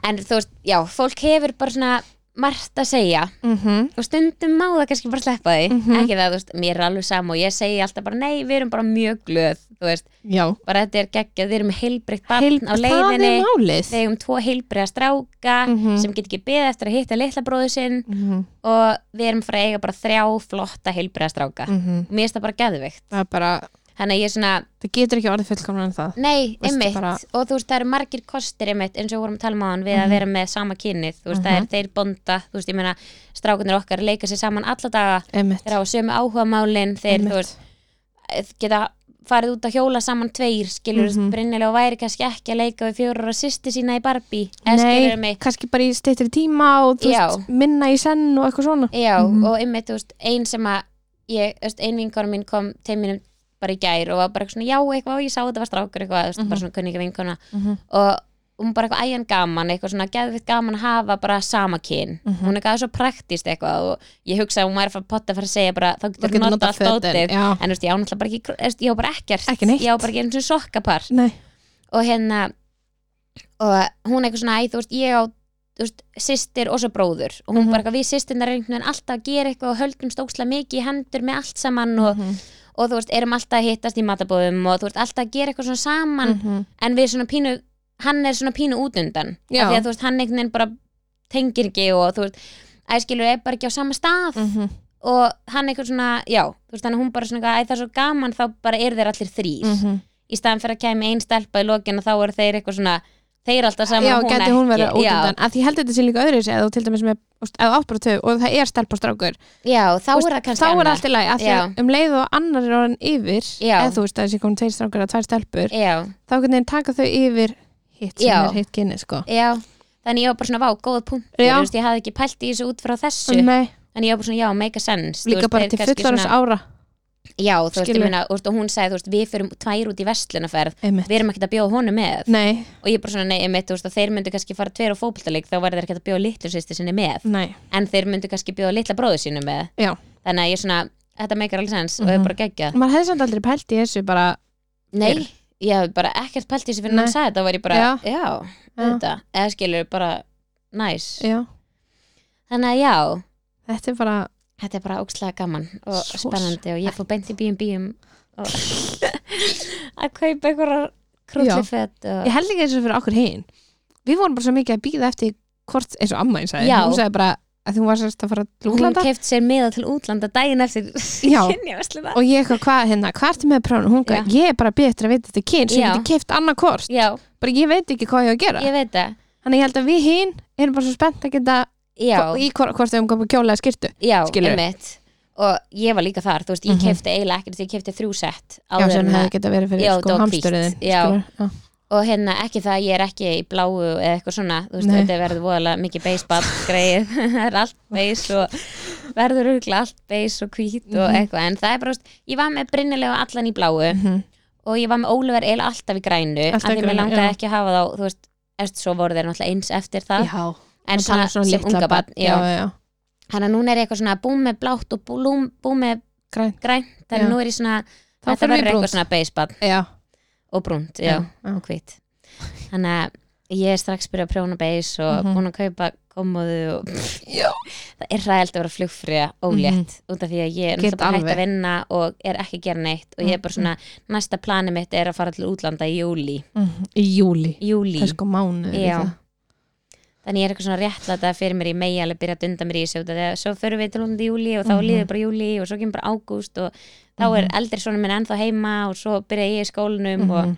Speaker 1: en þú veist, já, fólk hefur bara svona margt að segja
Speaker 2: Mhm,
Speaker 1: og stundum má það kannski bara sleppa því
Speaker 2: Mhm.
Speaker 1: ekki það, þú veist, mér er alveg sam og ég segi alltaf bara, nei, við erum bara mjög glöð þú veist,
Speaker 2: Já.
Speaker 1: bara þetta er geggjað, við erum heilbreykt barn
Speaker 2: Heil-
Speaker 1: á leiðinni
Speaker 2: Það er málið.
Speaker 1: við eigum tvo heilbreyða stráka
Speaker 2: Mhm.
Speaker 1: sem get ekki beðið eftir að hitta litla bróðu sinn
Speaker 2: Mhm,
Speaker 1: og við erum fyrir að eiga bara þrjá flotta heilbreyða stráka
Speaker 2: mhm.
Speaker 1: og mér finnst það bara geðvikt
Speaker 2: Það er bara,
Speaker 1: þannig að ég er svona,
Speaker 2: það getur ekki orðið fullkomna en það.
Speaker 1: nei,
Speaker 2: Veistu
Speaker 1: einmitt
Speaker 2: bara- Mhm.
Speaker 1: og þú veist, það eru margir kostir einmitt eins og við vorum að tala um áðan við að vera með sama kynið þú veist, það er þeir bonda, þú veist, ég meina strákunir okkar leika sér saman alla daga
Speaker 2: Emmett.
Speaker 1: þeir hafa sömu áhugamálin þeir, þú veist,
Speaker 2: Emmett.
Speaker 1: geta farið út að hjóla saman tveir skilur mm
Speaker 2: Mhm.
Speaker 1: brinnilega og væri kannski ekki að leika við fjórar og sýsti sína í Barbie eða skilur
Speaker 2: Nei,
Speaker 1: mig
Speaker 2: kannski bara í steytri tíma og þú
Speaker 1: Já.
Speaker 2: veist, minna í senn og eitthvað svona.
Speaker 1: Já,
Speaker 2: Mhm.
Speaker 1: og einmitt, þú veist, ein sem að ég, þú veist, ein vinkona mín kom til mínum bara í gær og var bara eitthvað svona, já, eitthvað, og ég sá þetta var strákur eitthvað, þú veist, bara svona kunninga vinkona
Speaker 2: Mhm.
Speaker 1: og hún bara eitthvað æjan gaman, eitthvað svona geðvitt gaman að hafa bara sama kyn
Speaker 2: Mhm.
Speaker 1: hún er eitthvað svo praktist eitthvað og ég hugsa að hún væri að fara að potta að fara að segja bara, þá getur
Speaker 2: Það
Speaker 1: hún
Speaker 2: getur
Speaker 1: nota
Speaker 2: notað
Speaker 1: allt
Speaker 2: fötin.
Speaker 1: dótið
Speaker 2: Já.
Speaker 1: en þú veist, ég á náttúrulega bara ekki, þú veist, ég á bara ekkert
Speaker 2: Ekki neitt.
Speaker 1: ég á bara ekki einu svona sokkapar
Speaker 2: Nei.
Speaker 1: og hérna og hún eitthvað svona, æ, þú veist, ég á þú veist, systir og svo bróður og hún
Speaker 2: Mhm.
Speaker 1: bara eitthvað, við systirnar erum einhvern veginn alltaf að gera eitthvað og höldum stóksla mikið í hendur með allt saman og,
Speaker 2: Mhm,
Speaker 1: og þú veist, erum alltaf að hittast í matabóðum og þú veist, alltaf að gera eitthvað svona saman
Speaker 2: mhm.
Speaker 1: en við svona pínu, hann er svona pínu út undan
Speaker 2: Já.
Speaker 1: af því að þú veist, hann einhvern veginn bara tengir ekki og þú veist, æskilur er bara ekki á sama stað
Speaker 2: Mhm,
Speaker 1: og hann eitthvað svona, já, þú veist, þannig að hún bara svona, eitthvað, æ, það er svo gaman, þá bara eru þeir allir þrýr
Speaker 2: mhm.
Speaker 1: í staðan fyrir að kemi einn stelpa í lokin og þá eru þeir eitthvað svona þeir alltaf saman
Speaker 2: já,
Speaker 1: og hún
Speaker 2: gæti
Speaker 1: ekki
Speaker 2: hún verið út
Speaker 1: já,
Speaker 2: undan að því ég held þetta sé líka öðru eða þú til dæmis með, úst, eða áttbara töf og það er stelp og strákur
Speaker 1: já, þá
Speaker 2: Úst,
Speaker 1: er það kannski
Speaker 2: þá er
Speaker 1: annað.
Speaker 2: allt í lagi, af því
Speaker 1: Já.
Speaker 2: að um leið og annar er orðin yfir
Speaker 1: Já.
Speaker 2: eða þú veist að þessi komin tveir strákur eða tvær stelpur
Speaker 1: já,
Speaker 2: þá hvernig taka þau yfir hitt sem
Speaker 1: Já.
Speaker 2: er hitt kynni sko
Speaker 1: já, þannig ég var bara svona vá, góða punktur,
Speaker 2: Já.
Speaker 1: þú veist, ég hafði ekki pælt í þessu út frá þessu,
Speaker 2: Nei,
Speaker 1: þannig ég var bara svona já, make a sense þú
Speaker 2: líka
Speaker 1: veist,
Speaker 2: bara
Speaker 1: þeir
Speaker 2: til
Speaker 1: kannski
Speaker 2: fullorins
Speaker 1: svona-
Speaker 2: ára
Speaker 1: já, þú veist, ég
Speaker 2: Skilur.
Speaker 1: meina, þú veist, og hún sagði, þú veist, við fyrum tvær út í vestlunaferð
Speaker 2: einmitt,
Speaker 1: við erum ekkert að bjóða honum með
Speaker 2: nei,
Speaker 1: og ég bara svona, nei, emitt, þú veist, og þeir myndu kannski fara tveir á fótboltaleik, þá var þeir ekkert að bjóða litlu sýsti sinni með,
Speaker 2: nei
Speaker 1: en þeir myndu kannski bjóða litla bróðu sínu með,
Speaker 2: já, Mhm.
Speaker 1: þannig að ég svona, þetta meikar alveg sens og ég bara geggja
Speaker 2: maður hefði samt aldrei pælt í þessu bara,
Speaker 1: Nei, ég hafði bara ekkert pælt í þessu fyrir en hann
Speaker 2: Nei.
Speaker 1: sagði þetta var ég bara,
Speaker 2: Já.
Speaker 1: já, þetta eða skilur bara, næs
Speaker 2: já,
Speaker 1: þannig að já,
Speaker 2: þetta er bara
Speaker 1: þetta er bara ókslega gaman og
Speaker 2: Svo
Speaker 1: spennandi og ég fór beint í B&B um og að kaupa einhverjar krúllifett og
Speaker 2: ég held ekki þessu fyrir okkur hinn við vorum bara svo mikið að býða eftir hvort, eins og amma eins
Speaker 1: Já.
Speaker 2: hún sagði bara, að því hún var sérst að fara til
Speaker 1: hún
Speaker 2: útlanda
Speaker 1: keft sér miða til útlanda daginn eftir
Speaker 2: Já.
Speaker 1: kynjaversluna
Speaker 2: og ég eitthvað, hvað hérna, hvað ertu með prófum hún,
Speaker 1: Já.
Speaker 2: eitthvað, ég er bara betur að veit þetta kyn sem
Speaker 1: Já.
Speaker 2: ég geti keft annað kort
Speaker 1: já,
Speaker 2: bara ég veit ekki hvað ég á að gera
Speaker 1: ég veit það
Speaker 2: þannig ég held að við hinn erum bara svo spennt að geta
Speaker 1: já,
Speaker 2: í hvort, hvort við um komum kjóla eða skyrtu
Speaker 1: já,
Speaker 2: skilurðu?
Speaker 1: einmitt og ég var líka þar, þú veist, ég
Speaker 2: Mhm.
Speaker 1: kefti eiginlega ekkert, ég kefti þrjú sett
Speaker 2: já,
Speaker 1: áður
Speaker 2: sem
Speaker 1: en að-
Speaker 2: hefði geta verið fyrir
Speaker 1: Já, þetta
Speaker 2: sko,
Speaker 1: var
Speaker 2: hamstöruðin
Speaker 1: hvítt, já.
Speaker 2: skilurðu, já.
Speaker 1: og hérna ekki það að ég er ekki í bláu eða eitthvað svona, þú veist,
Speaker 2: Nei.
Speaker 1: þetta verður voðalega mikið beisball greið, það er allt beis og verður auðvitað allt beis og hvít og
Speaker 2: Mhm.
Speaker 1: eitthvað, en það er bara þú veist, ég var með brinnilega allan í bláu
Speaker 2: Mhm.
Speaker 1: og ég var með Ólafur eiginlega alltaf í grænu
Speaker 2: Alltaf
Speaker 1: af
Speaker 2: í
Speaker 1: því mér
Speaker 2: grænu,
Speaker 1: langaði
Speaker 2: já.
Speaker 1: ekki að hafa þá, þú veist eftir svo voru þeir náttúrulega eins eftir það
Speaker 2: já,
Speaker 1: en
Speaker 2: og tala
Speaker 1: svona, sem unga
Speaker 2: barn,
Speaker 1: barn, já.
Speaker 2: já, já.
Speaker 1: þannig að núna er ég eitthvað svona búm með blátt og búm, búm með
Speaker 2: Grænt.
Speaker 1: grænt þannig að
Speaker 2: Já.
Speaker 1: nú er ég svona,
Speaker 2: Þá
Speaker 1: þetta
Speaker 2: förum við í
Speaker 1: verður eitthvað
Speaker 2: brúnt.
Speaker 1: svona beisball
Speaker 2: Já,
Speaker 1: og brúnt, já.
Speaker 2: já, já.
Speaker 1: og hvít þannig að ég er strax byrjuð að prjóna beis og
Speaker 2: Mhm.
Speaker 1: búin að kaupa komoðu og
Speaker 2: Já. Mhm.
Speaker 1: það er ræðilt að vera flugfrýja ólétt út af því að ég er
Speaker 2: Get
Speaker 1: náttúrulega bara hægt
Speaker 2: alveg.
Speaker 1: að vinna og er ekki að gera neitt og ég er bara svona, næsta plani mitt er að fara til útlanda í júli,
Speaker 2: Mhm. Í júli,
Speaker 1: júli.
Speaker 2: það er sko mánu
Speaker 1: Já. þannig ég er eitthvað svona réttlæta fyrir mér í megi alveg byrja að dunda mér í þessu út af því að svo förum við til útlanda í júli og þá
Speaker 2: Mhm.
Speaker 1: líður bara júli og svo kemur bara ágúst og þá er eldri svona minn ennþá heima og svo byrja ég í skólanum og,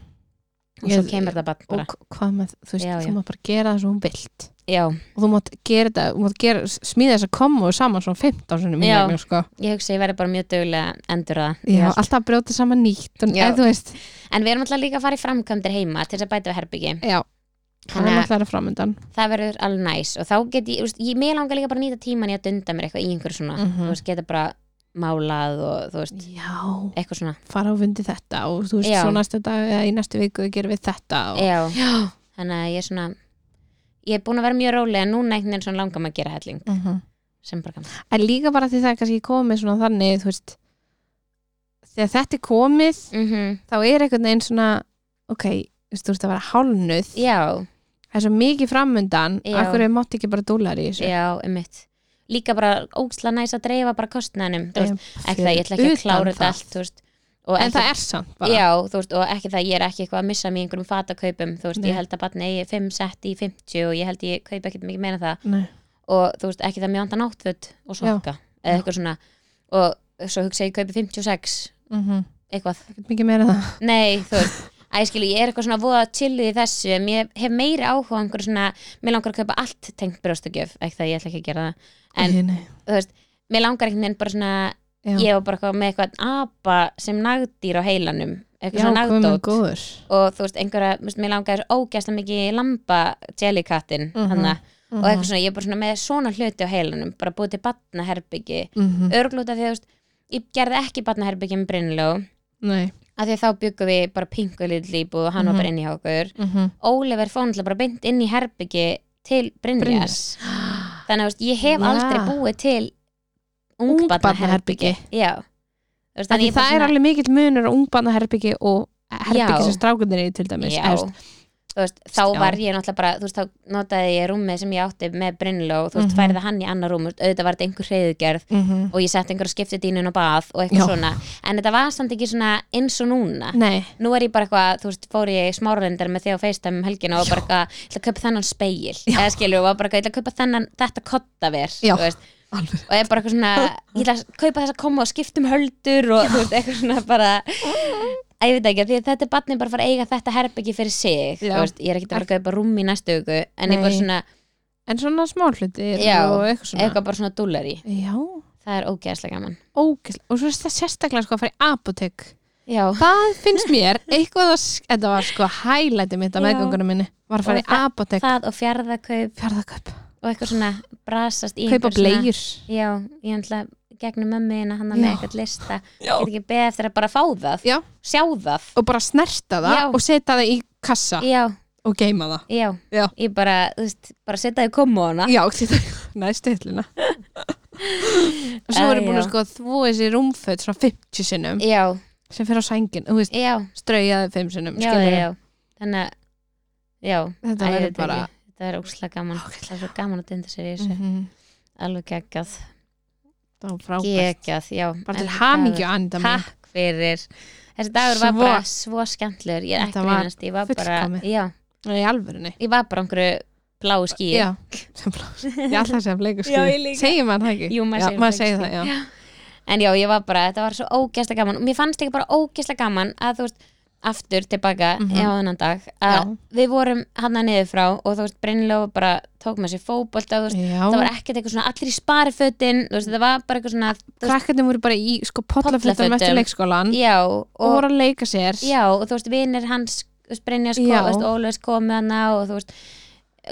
Speaker 1: og svo
Speaker 2: Mhm. Ég-
Speaker 1: kemur það bara, bara.
Speaker 2: og k- hvað með, þú veist,
Speaker 1: Já, já.
Speaker 2: þú mátt bara gera það svo hún vilt
Speaker 1: já,
Speaker 2: og þú mátt gera þetta, þú mátt gera, smíða þess að koma og saman svona 15 sinni
Speaker 1: Já.
Speaker 2: mínum sko.
Speaker 1: ég hugsa að ég verði bara mjög dögulega endur það
Speaker 2: já, alltaf að brjóta saman nýtt og,
Speaker 1: Já.
Speaker 2: eða, þú veist,
Speaker 1: En við erum alltaf líka að fara í framkvæmdir heima til þess að bæta við herbyggi.
Speaker 2: já, hann er
Speaker 1: Þannig að
Speaker 2: alltaf að framöndan
Speaker 1: það verður alveg næs og þá get ég, þú veist, ég mér langar líka bara að nýta tíman í að dunda mér eitthvað í einhverju svona.
Speaker 2: Mhm.
Speaker 1: Þú veist, geta bara málað og þú veist,
Speaker 2: já,
Speaker 1: eitthvað svona.
Speaker 2: fara og vundi þetta og þú veist,
Speaker 1: Já.
Speaker 2: svo næsta dag eða í næstu viku gerum við þetta og,
Speaker 1: Já,
Speaker 2: já,
Speaker 1: þannig að ég er svona, ég er búin að vera mjög rólega en núna einhvern veginn svona langar maður að gera helling
Speaker 2: mhm
Speaker 1: sem bara kannar.
Speaker 2: en líka bara því það er kannski komið svona þannig, þú veist þegar þetta er komið,
Speaker 1: Mm
Speaker 2: þá er einhvern veginn svona ok, þú veist, þú veist að vera hálnuð
Speaker 1: Já,
Speaker 2: það er svo mikið framöndan
Speaker 1: Já.
Speaker 2: akkur er mátt ekki bara dólar í þessu
Speaker 1: já, um mitt. Líka bara ógsla næs að dreifa bara kostnæðinum, þú veist, ekki
Speaker 2: Fyrir
Speaker 1: það, ég ætla ekki að
Speaker 2: utan
Speaker 1: klára þetta
Speaker 2: það.
Speaker 1: allt, þú veist. Og
Speaker 2: en
Speaker 1: ekki-
Speaker 2: það er samt bara
Speaker 1: Já, þú veist, og ekki það, ég er ekki eitthvað að missa mig í einhverjum fatakaupum, þú veist,
Speaker 2: Nei.
Speaker 1: ég held að batna eigi 5 sett í 50 og ég held ég kaupa ekkert mikið meira en það
Speaker 2: Nei.
Speaker 1: og þú veist, ekki það mjög andan áttföt og sokka, eða eitthvað svona og svo hugsa ég kaupi 56
Speaker 2: Mhm.
Speaker 1: eitthvað,
Speaker 2: ekkert mikið meira en það
Speaker 1: nei, þú veist Æ, skilu, ég er eitthvað svona voða chillið í þessu en ég hef meiri áhuga á einhverju svona mér langar að kaupa allt tengt brjóstugjöf ekki það, ég ætla ekki að gera það En-
Speaker 2: Nei, nei.
Speaker 1: þú veist, mér langar einhvern veginn bara svona
Speaker 2: Já.
Speaker 1: ég var bara eitthvað með eitthvað apa sem nagdýr á heilanum eitthvað
Speaker 2: já,
Speaker 1: svona
Speaker 2: guð minn
Speaker 1: nagdót
Speaker 2: góður
Speaker 1: og þú veist, einhverja, þú veist, mér langaði svo ógæsla mikið í lamba jellykattin mm
Speaker 2: Mhm,
Speaker 1: og eitthvað svona, ég er bara svona með svona hluti á heilanum, bara búið til batnaherbyggi
Speaker 2: Mhm.
Speaker 1: örglúta því að þú veist ég gerði ekki batnaherbyggi með Brynló
Speaker 2: Nei.
Speaker 1: af því að þá byggum við bara pingu lill íbúð og hann var bara inn í okkur
Speaker 2: Mhm.
Speaker 1: Ólefur fór náttúrulega bara beint inn í herbyggi til Brynjars
Speaker 2: Brynjars.
Speaker 1: þannig að þú veist, ég hef
Speaker 2: Ja.
Speaker 1: aldrei búið til ungbatnaherbyggi
Speaker 2: Ungbarnaherbergi.
Speaker 1: já Þú veist,
Speaker 2: Af því
Speaker 1: ég bara
Speaker 2: það er
Speaker 1: svona-
Speaker 2: alveg mikill munur á ungbarnaherbyggi og
Speaker 1: Já.
Speaker 2: herbyggi sem strákunir í til dæmis
Speaker 1: Já,
Speaker 2: eða, þú veist,
Speaker 1: þú veist, þá
Speaker 2: sko. Já.
Speaker 1: var ég náttúrulega bara, þú veist, þá notaði ég rúmið sem ég átti með Brynló og þú veist,
Speaker 2: Mhm.
Speaker 1: færði hann í annar rúm, þú veist, auðvitað var þetta einhver hreiðugerð
Speaker 2: mhm.
Speaker 1: og ég sett einhver skiptidínun og bað og eitthvað
Speaker 2: Já.
Speaker 1: svona, en þetta var samt ekki svona eins og núna,
Speaker 2: Nei,
Speaker 1: nú er ég bara eitthvað þú veist, fór ég í smáralindar með því á FaceTime um helgina og bara eitthvað, ég ætla að kaupa þennan speil eða skilur, og var bara eitthvað, ég ætla að kaupa þennan þetta kottaver,
Speaker 2: Já.
Speaker 1: þú veist
Speaker 2: alveg
Speaker 1: og er bara eitthvað svona, ég ætla að kaupa þess að koma og skiptum höldur og þú veist, eitthvað svona bara að ég veit ekki, því að þetta er barnið bara að fara að eiga þetta herbyggi fyrir sig,
Speaker 2: Já.
Speaker 1: þú veist, ég er ekki að fara að kaupa rúm í næstu viku, en ég
Speaker 2: Nei.
Speaker 1: bara svona
Speaker 2: En svona smá hluti
Speaker 1: Já,
Speaker 2: og eitthvað svona
Speaker 1: eitthvað bara svona dúllari,
Speaker 2: Já,
Speaker 1: það er ógeðslega gaman
Speaker 2: ógæslega Og svo er það sérstaklega sko að fara í apotek
Speaker 1: Já,
Speaker 2: Það finnst mér eitthvað að Þetta var sko hælæti mitt
Speaker 1: Já.
Speaker 2: að meðgöngunum minni Var að fara
Speaker 1: Og
Speaker 2: í apotek
Speaker 1: það og fjarðakaup
Speaker 2: Fjarðaköp,
Speaker 1: og eitthvað svona brasast í
Speaker 2: kaupa
Speaker 1: einhver svona-
Speaker 2: blegjur
Speaker 1: Já, ég ætla gegnum mömmuðina hann með
Speaker 2: Já.
Speaker 1: eitthvað lista
Speaker 2: Já.
Speaker 1: Ég get ekki beðið eftir að bara fá það,
Speaker 2: Já.
Speaker 1: sjá það
Speaker 2: Og bara snerta það
Speaker 1: Já.
Speaker 2: og setja það í kassa
Speaker 1: Já,
Speaker 2: Og geima það
Speaker 1: já,
Speaker 2: Já.
Speaker 1: ég bara, þú veist, bara setja þau komu hana
Speaker 2: Já, setja næstu hillina Og svo
Speaker 1: Æ,
Speaker 2: erum búin
Speaker 1: já.
Speaker 2: að sko þvó þessi rúmföt Svona 50 sinnum
Speaker 1: Já,
Speaker 2: sem fer á sængin Þú veist,
Speaker 1: já,
Speaker 2: straujaði 5 sinnum
Speaker 1: já,
Speaker 2: skilurðu.
Speaker 1: já, já. þannig að já, æ,
Speaker 2: Þetta
Speaker 1: ég
Speaker 2: verður
Speaker 1: veit
Speaker 2: bara
Speaker 1: ekki. þetta er ógslag gaman það er svo gaman að dynda sér í þessu
Speaker 2: Mhm.
Speaker 1: alveg geggjað,
Speaker 2: Það var frábært
Speaker 1: geggjað já,
Speaker 2: bara
Speaker 1: En
Speaker 2: til hamingju
Speaker 1: dagur-
Speaker 2: Anita mín
Speaker 1: takk fyrir þessi dagur var
Speaker 2: Svo-
Speaker 1: bara svo skemmtlur ég er
Speaker 2: Þetta
Speaker 1: ekki
Speaker 2: var
Speaker 1: grínast, ég var bara
Speaker 2: fullkomið.
Speaker 1: já,
Speaker 2: Nei, í alvörunni
Speaker 1: ég var bara einhverju blá skýi
Speaker 2: Já, sem blás Ég ætla að segja bleiku ský
Speaker 1: Já, ég líka.
Speaker 2: Segir maður það ekki?
Speaker 1: Jú, maður
Speaker 2: já,
Speaker 1: segir
Speaker 2: maður
Speaker 1: bleiku
Speaker 2: segir
Speaker 1: ský.
Speaker 2: það, já.
Speaker 1: en já, ég var bara, þetta var svo ógæsla gaman og mér fannst ekki bara ógæsla gaman að þú veist aftur tilbaka mm
Speaker 2: Mhm.
Speaker 1: -hmm. á þennan dag
Speaker 2: Já.
Speaker 1: að við vorum hann að niður frá og þú veist, Brynlóf bara tók með sér fótbolta og þú veist,
Speaker 2: já.
Speaker 1: það var ekkert eitthvað svona allir í sparifötin, þú veist, það var bara eitthvað svona þú veist,
Speaker 2: Krakkarnir voru bara í sko pollafötum
Speaker 1: Pollafötum.
Speaker 2: eftir leikskólan
Speaker 1: já, og,
Speaker 2: og voru að leika sér
Speaker 1: já, og þú veist, vinir hans Brynja
Speaker 2: Já.
Speaker 1: sko, þú veist, Ólaus komið hana og þú veist,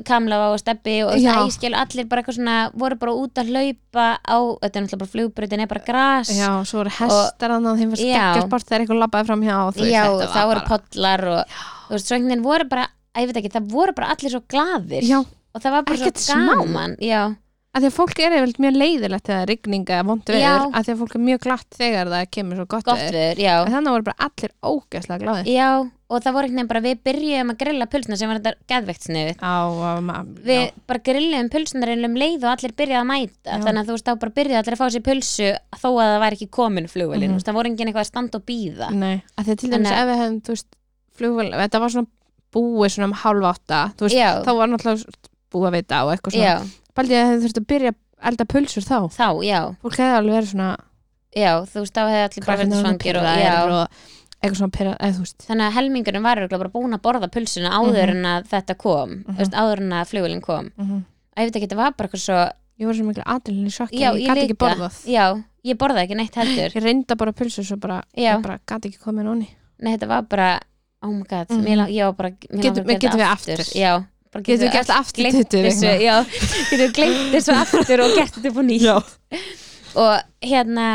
Speaker 1: Kamla og Steppi og þú veist,
Speaker 2: Já.
Speaker 1: æskil, allir bara eitthvað svona voru bara út að hlaupa á þetta er náttúrulega bara flugbrutin, er bara gras
Speaker 2: Já, svo voru hestar hann að þeim var
Speaker 1: Já.
Speaker 2: skeggjast bort þegar eitthvað labbaði fram hjá og þú veist,
Speaker 1: já,
Speaker 2: þetta
Speaker 1: það
Speaker 2: var
Speaker 1: voru pollar og þú veist, svo einhvern veginn voru bara að ég veit ekki, það voru bara allir svo glaðir
Speaker 2: Já,
Speaker 1: og það var bara
Speaker 2: Ekkert
Speaker 1: svo
Speaker 2: smá.
Speaker 1: gaman já,
Speaker 2: að því að fólk er eða mjög leiðilegt þegar það er rigning eða vond veður,
Speaker 1: Já.
Speaker 2: að því að fólk er mjög glatt þegar það kemur svo gott,
Speaker 1: gott
Speaker 2: veður
Speaker 1: viður, já
Speaker 2: en þannig voru bara allir ógæslega gláði
Speaker 1: já, og það voru einhvern veginn bara við byrjuðum að grilla pulsna sem var þetta geðveikt sniðið
Speaker 2: á, um,
Speaker 1: við bara grilluðum pulsna reynlum um leið og allir byrjuðu að mæta
Speaker 2: Já.
Speaker 1: þannig að þú veist, þá bara byrjuðu allir að fá sér pulsu þó að það væri ekki komin flugvelin
Speaker 2: Mhm.
Speaker 1: mm -hmm. það voru enginn eitthvað að standa og býða
Speaker 2: Nei, að því að til
Speaker 1: En
Speaker 2: dæmis
Speaker 1: að-
Speaker 2: ef við hefum, þú veist, flugvél, þetta var svona búið svona um hálf átta, þú veist,
Speaker 1: Já.
Speaker 2: þá var náttúrulega búið að vita og eitthvað Mm, svona.
Speaker 1: já,
Speaker 2: Baldið að þau þurftu að byrja að elda pulsur þá.
Speaker 1: þá, já,
Speaker 2: Fólk hefði alveg verið svona
Speaker 1: já þú veist, þá hefði allir bara verið
Speaker 2: svona
Speaker 1: svangir og, já,
Speaker 2: pirraðir og eitthvað svona pyrra, eða þú veist.
Speaker 1: þannig að helmingurinn var örugglega bara búin að borða pulsuna áður en að þetta kom mm
Speaker 2: Mhm.
Speaker 1: veist, áður en að flugulinn kom að ég veit ekki, þetta var bara eitthvað svo
Speaker 2: Ég voru svo miklu aðlunni sjokki,
Speaker 1: já,
Speaker 2: ég, ég gæti ekki
Speaker 1: líka.
Speaker 2: borðað.
Speaker 1: já, ég borðaði ekki neitt heldur
Speaker 2: Ég reynda bara pulsur svo bara,
Speaker 1: Já.
Speaker 2: ég bara gæti ekki komið nóni.
Speaker 1: nei, þetta var bara, oh my god
Speaker 2: Mhm.
Speaker 1: mm. lang, já, bara, mér
Speaker 2: Getum-
Speaker 1: langar að
Speaker 2: getum
Speaker 1: gera
Speaker 2: við
Speaker 1: þetta
Speaker 2: aftur?
Speaker 1: já, bara
Speaker 2: Getum við gert aftur
Speaker 1: gleymt
Speaker 2: 20
Speaker 1: þessu,
Speaker 2: vikna?
Speaker 1: já, getum við glemt þessu aftur og gert þetta búin í
Speaker 2: Já.
Speaker 1: og hérna,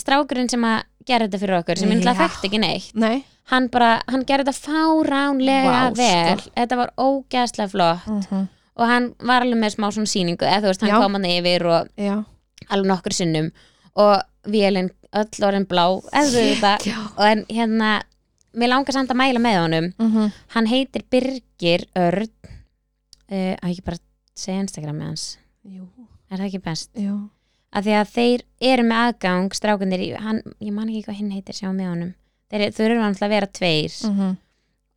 Speaker 1: strákurinn sem að gera þetta fyrir okkur, sem myndla
Speaker 2: Já.
Speaker 1: þekkt ekki neitt
Speaker 2: Nei.
Speaker 1: hann bara, hann gerði þetta fáránlega
Speaker 2: Vá, sko.
Speaker 1: vel, þetta var ógæslega flott
Speaker 2: Mhm.
Speaker 1: og hann var alveg með smá svona sýningu eða þú veist, hann
Speaker 2: Já.
Speaker 1: kom hann yfir og
Speaker 2: Já.
Speaker 1: alveg nokkur sinnum og vélinn öll orðin blá eða þú veist það,
Speaker 2: Já.
Speaker 1: og en hérna mér langar samt að mæla með honum
Speaker 2: Mhm.
Speaker 1: hann heitir Birgir Örn uh, að ekki bara segja Instagram með hans
Speaker 2: Jú.
Speaker 1: er það ekki best
Speaker 2: Jú.
Speaker 1: að því að þeir eru með aðgang strákundir, í- hann, ég man ekki hvað hinn heitir sjá með honum, þeir, þau eru alltaf að vera tveir
Speaker 2: Mhm.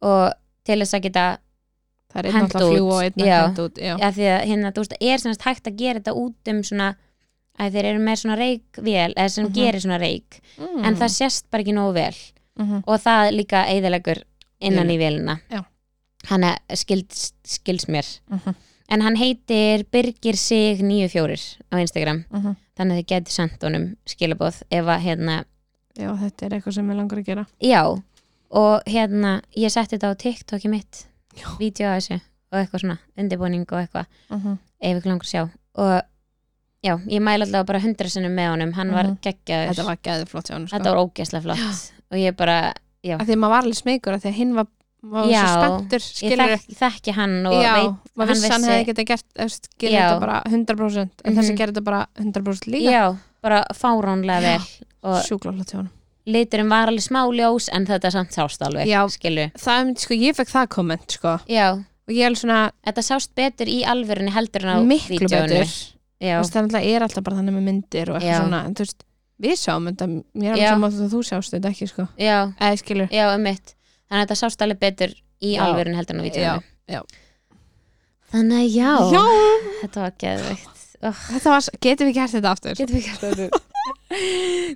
Speaker 1: og til þess að geta
Speaker 2: Það er einn
Speaker 1: Hent
Speaker 2: alltaf
Speaker 1: út.
Speaker 2: fljú og einn
Speaker 1: Já.
Speaker 2: hend út. Já.
Speaker 1: að því að hérna, þú veist, er semast hægt að gera þetta út um svona að þeir eru með svona reikvél eða sem
Speaker 2: Mhm.
Speaker 1: gerir svona reik
Speaker 2: Mm.
Speaker 1: en það sést bara ekki nógu vel
Speaker 2: Mhm.
Speaker 1: og það líka eðilegur innan í vélina
Speaker 2: Já.
Speaker 1: hann að skils, skils mér
Speaker 2: Mhm.
Speaker 1: en hann heitir Birgir Sig 94 á Instagram
Speaker 2: Mhm.
Speaker 1: þannig að þið geti sendt honum skilabóð ef að hérna,
Speaker 2: Já, þetta er eitthvað sem ég langar að gera
Speaker 1: já og hérna, ég setti þetta á TikTok í mitt
Speaker 2: Já.
Speaker 1: vídeo af þessu og eitthvað svona undirbúning og eitthvað
Speaker 2: -hmm.
Speaker 1: ef ykkur langar að sjá og já, ég mæla alltaf bara hundra sinnum með honum hann var
Speaker 2: Mhm.
Speaker 1: geggjaður,
Speaker 2: Þetta var gæðið flott hjá hann sko.
Speaker 1: þetta var ógeðslega flott og ég bara, já,
Speaker 2: Af Því að maður var alveg smeykur af Því að hinn var, var
Speaker 1: Já,
Speaker 2: svo spenntur
Speaker 1: ég
Speaker 2: Skilur
Speaker 1: þekki, þekki hann og
Speaker 2: Já,
Speaker 1: veit, hann
Speaker 2: maður vissi hann
Speaker 1: vissi-
Speaker 2: hefði getað gert eftir, Gerir
Speaker 1: Já.
Speaker 2: þetta bara 100% En þessi
Speaker 1: Mhm.
Speaker 2: gerir þetta bara 100% líka
Speaker 1: já, bara fáránlega
Speaker 2: Já.
Speaker 1: vel og
Speaker 2: Sjúkla flott hjá hann
Speaker 1: liturinn var alveg smá ljós en þetta samt sást alveg,
Speaker 2: Já.
Speaker 1: skilu
Speaker 2: Það er, sko, ég fekk það komment sko
Speaker 1: já,
Speaker 2: Og ég er alveg svona,
Speaker 1: þetta sást betur í alvörunni heldur en á
Speaker 2: Miklu
Speaker 1: vídeóinu.
Speaker 2: betur.
Speaker 1: já,
Speaker 2: þú veist, það náttúrulega er alltaf bara þannig með myndir og eitthvað
Speaker 1: Já.
Speaker 2: svona En þú veist, við sjáum þetta Mér er alveg
Speaker 1: Já.
Speaker 2: saman að þú sjást þetta ekki sko
Speaker 1: já,
Speaker 2: Eða skilur
Speaker 1: já, um mitt þannig að þetta sást alveg betur í
Speaker 2: Já.
Speaker 1: alvörunni heldur en á vídeoinu.
Speaker 2: Já, já.
Speaker 1: þannig að já,
Speaker 2: Já,
Speaker 1: þetta var geðveikt oh,
Speaker 2: þetta var, getum við gert þetta aftur?
Speaker 1: getum við gert þetta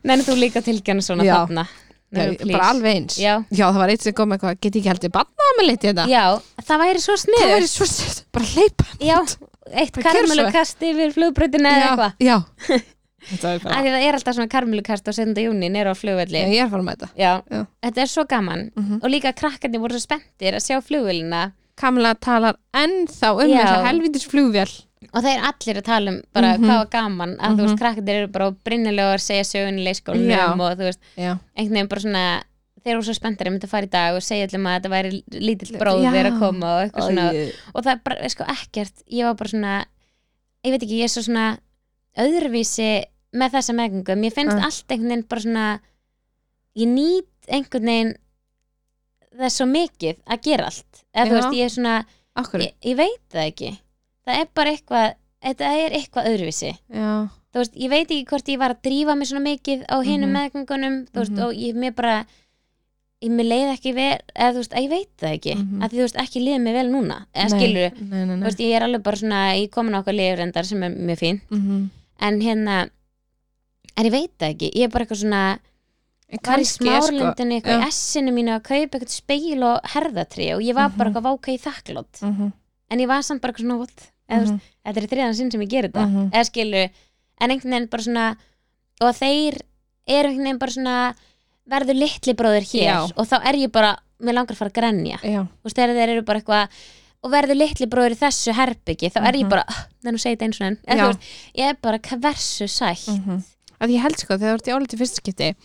Speaker 1: neina þú líka tilgjana svona
Speaker 2: Já.
Speaker 1: þarna
Speaker 2: Já,
Speaker 1: Nei, please.
Speaker 2: bara alveg eins
Speaker 1: Já.
Speaker 2: það var eitt sem kom með eitthvað, get ég ekki heldur banna með litið þetta
Speaker 1: Já, það væri svo
Speaker 2: það
Speaker 1: sniður
Speaker 2: væri svo sett, bara hleypa
Speaker 1: Já, eitt
Speaker 2: Bara gjörðu svo vel.
Speaker 1: karmelukast yfir flugbröðinu eða eitthvað
Speaker 2: já þetta er
Speaker 1: Af
Speaker 2: bara,
Speaker 1: því það er alltaf svona karmelukast á 7. júni nýra á flugvelli
Speaker 2: ég er fara með þetta
Speaker 1: Já.
Speaker 2: Já.
Speaker 1: þetta er svo gaman
Speaker 2: Mhm.
Speaker 1: og líka krakkarnir voru svo spenntir að sjá flugvélina
Speaker 2: Kamila talar ennþá um
Speaker 1: Já.
Speaker 2: þessa helvitis flugvél
Speaker 1: og það er allir að tala um bara
Speaker 2: Mhm.
Speaker 1: hvað var gaman að þú veist
Speaker 2: Mhm.
Speaker 1: krakkarnir eru bara brinnilegar segja sögun í leikskólanum
Speaker 2: Já.
Speaker 1: og þú veist
Speaker 2: já,
Speaker 1: einhvern veginn bara svona þeir eru svo spenntir að mynda að fara í dag og segja allum að þetta væri lítill bróðir
Speaker 2: Já.
Speaker 1: að koma og eitthvað svona
Speaker 2: Æi.
Speaker 1: og það er bara, er sko, ekkert ég var bara svona, ég veit ekki, ég er svo svona öðruvísi með þessa meðgöngu, mér finnst
Speaker 2: Mm.
Speaker 1: allt einhvern veginn bara svona ég nýt einhvern veginn það er svo mikið að gera allt eða þú
Speaker 2: Já.
Speaker 1: veist, ég er svona,
Speaker 2: af hverju,
Speaker 1: ég, ég veit það ekki það er bara eitthvað, þetta er eitthvað öðruvísi
Speaker 2: já,
Speaker 1: þú veist, ég veit ekki hvort ég var að drífa mig svona mikið á hinum
Speaker 2: Mhm.
Speaker 1: meðgöngunum, þú veist,
Speaker 2: Mhm.
Speaker 1: og ég mér bara ég með leið ekki ver eða þú veist, að ég veit það ekki
Speaker 2: Mhm.
Speaker 1: að því þú veist, ekki liðið mig vel núna eða
Speaker 2: Nei,
Speaker 1: skilur,
Speaker 2: nei, nei,
Speaker 1: þú
Speaker 2: nei.
Speaker 1: veist, ég er alveg bara svona ég komin á okkar liðurendar sem er mjög fín
Speaker 2: Mhm.
Speaker 1: en hérna, en ég veit það ekki ég er bara eitthvað svona,
Speaker 2: En
Speaker 1: var í
Speaker 2: kannski er sko-
Speaker 1: smárlindinu eitthvað
Speaker 2: já.
Speaker 1: í essinu mínu að kaupa eitthvað speil og herðatrí og ég var bara
Speaker 2: Mhm.
Speaker 1: eitthvað váka í þakklátt
Speaker 2: Mhm,
Speaker 1: en ég var samt bara eitthvað svona, what, eða þú veist
Speaker 2: mhm,
Speaker 1: þetta er þriðan sinn sem ég gerir þetta
Speaker 2: mhm.
Speaker 1: eða skilu, en einhvern veginn bara svona og þeir eru einhvern veginn bara svona verður litli bróður hér
Speaker 2: Já.
Speaker 1: og þá er ég bara, mér langar að fara að grenja
Speaker 2: Já,
Speaker 1: og þegar þeir eru bara eitthvað og verður litli bróður í þessu herbyggi þá er ég
Speaker 2: Mhm.
Speaker 1: bara, "Ah, nei nú segi þetta eins og enn
Speaker 2: Já.
Speaker 1: eða þú veist, ég er bara, hvað versu sætt
Speaker 2: mhm. Að ég held sko, þegar þú ert í áliti fyrsta skipti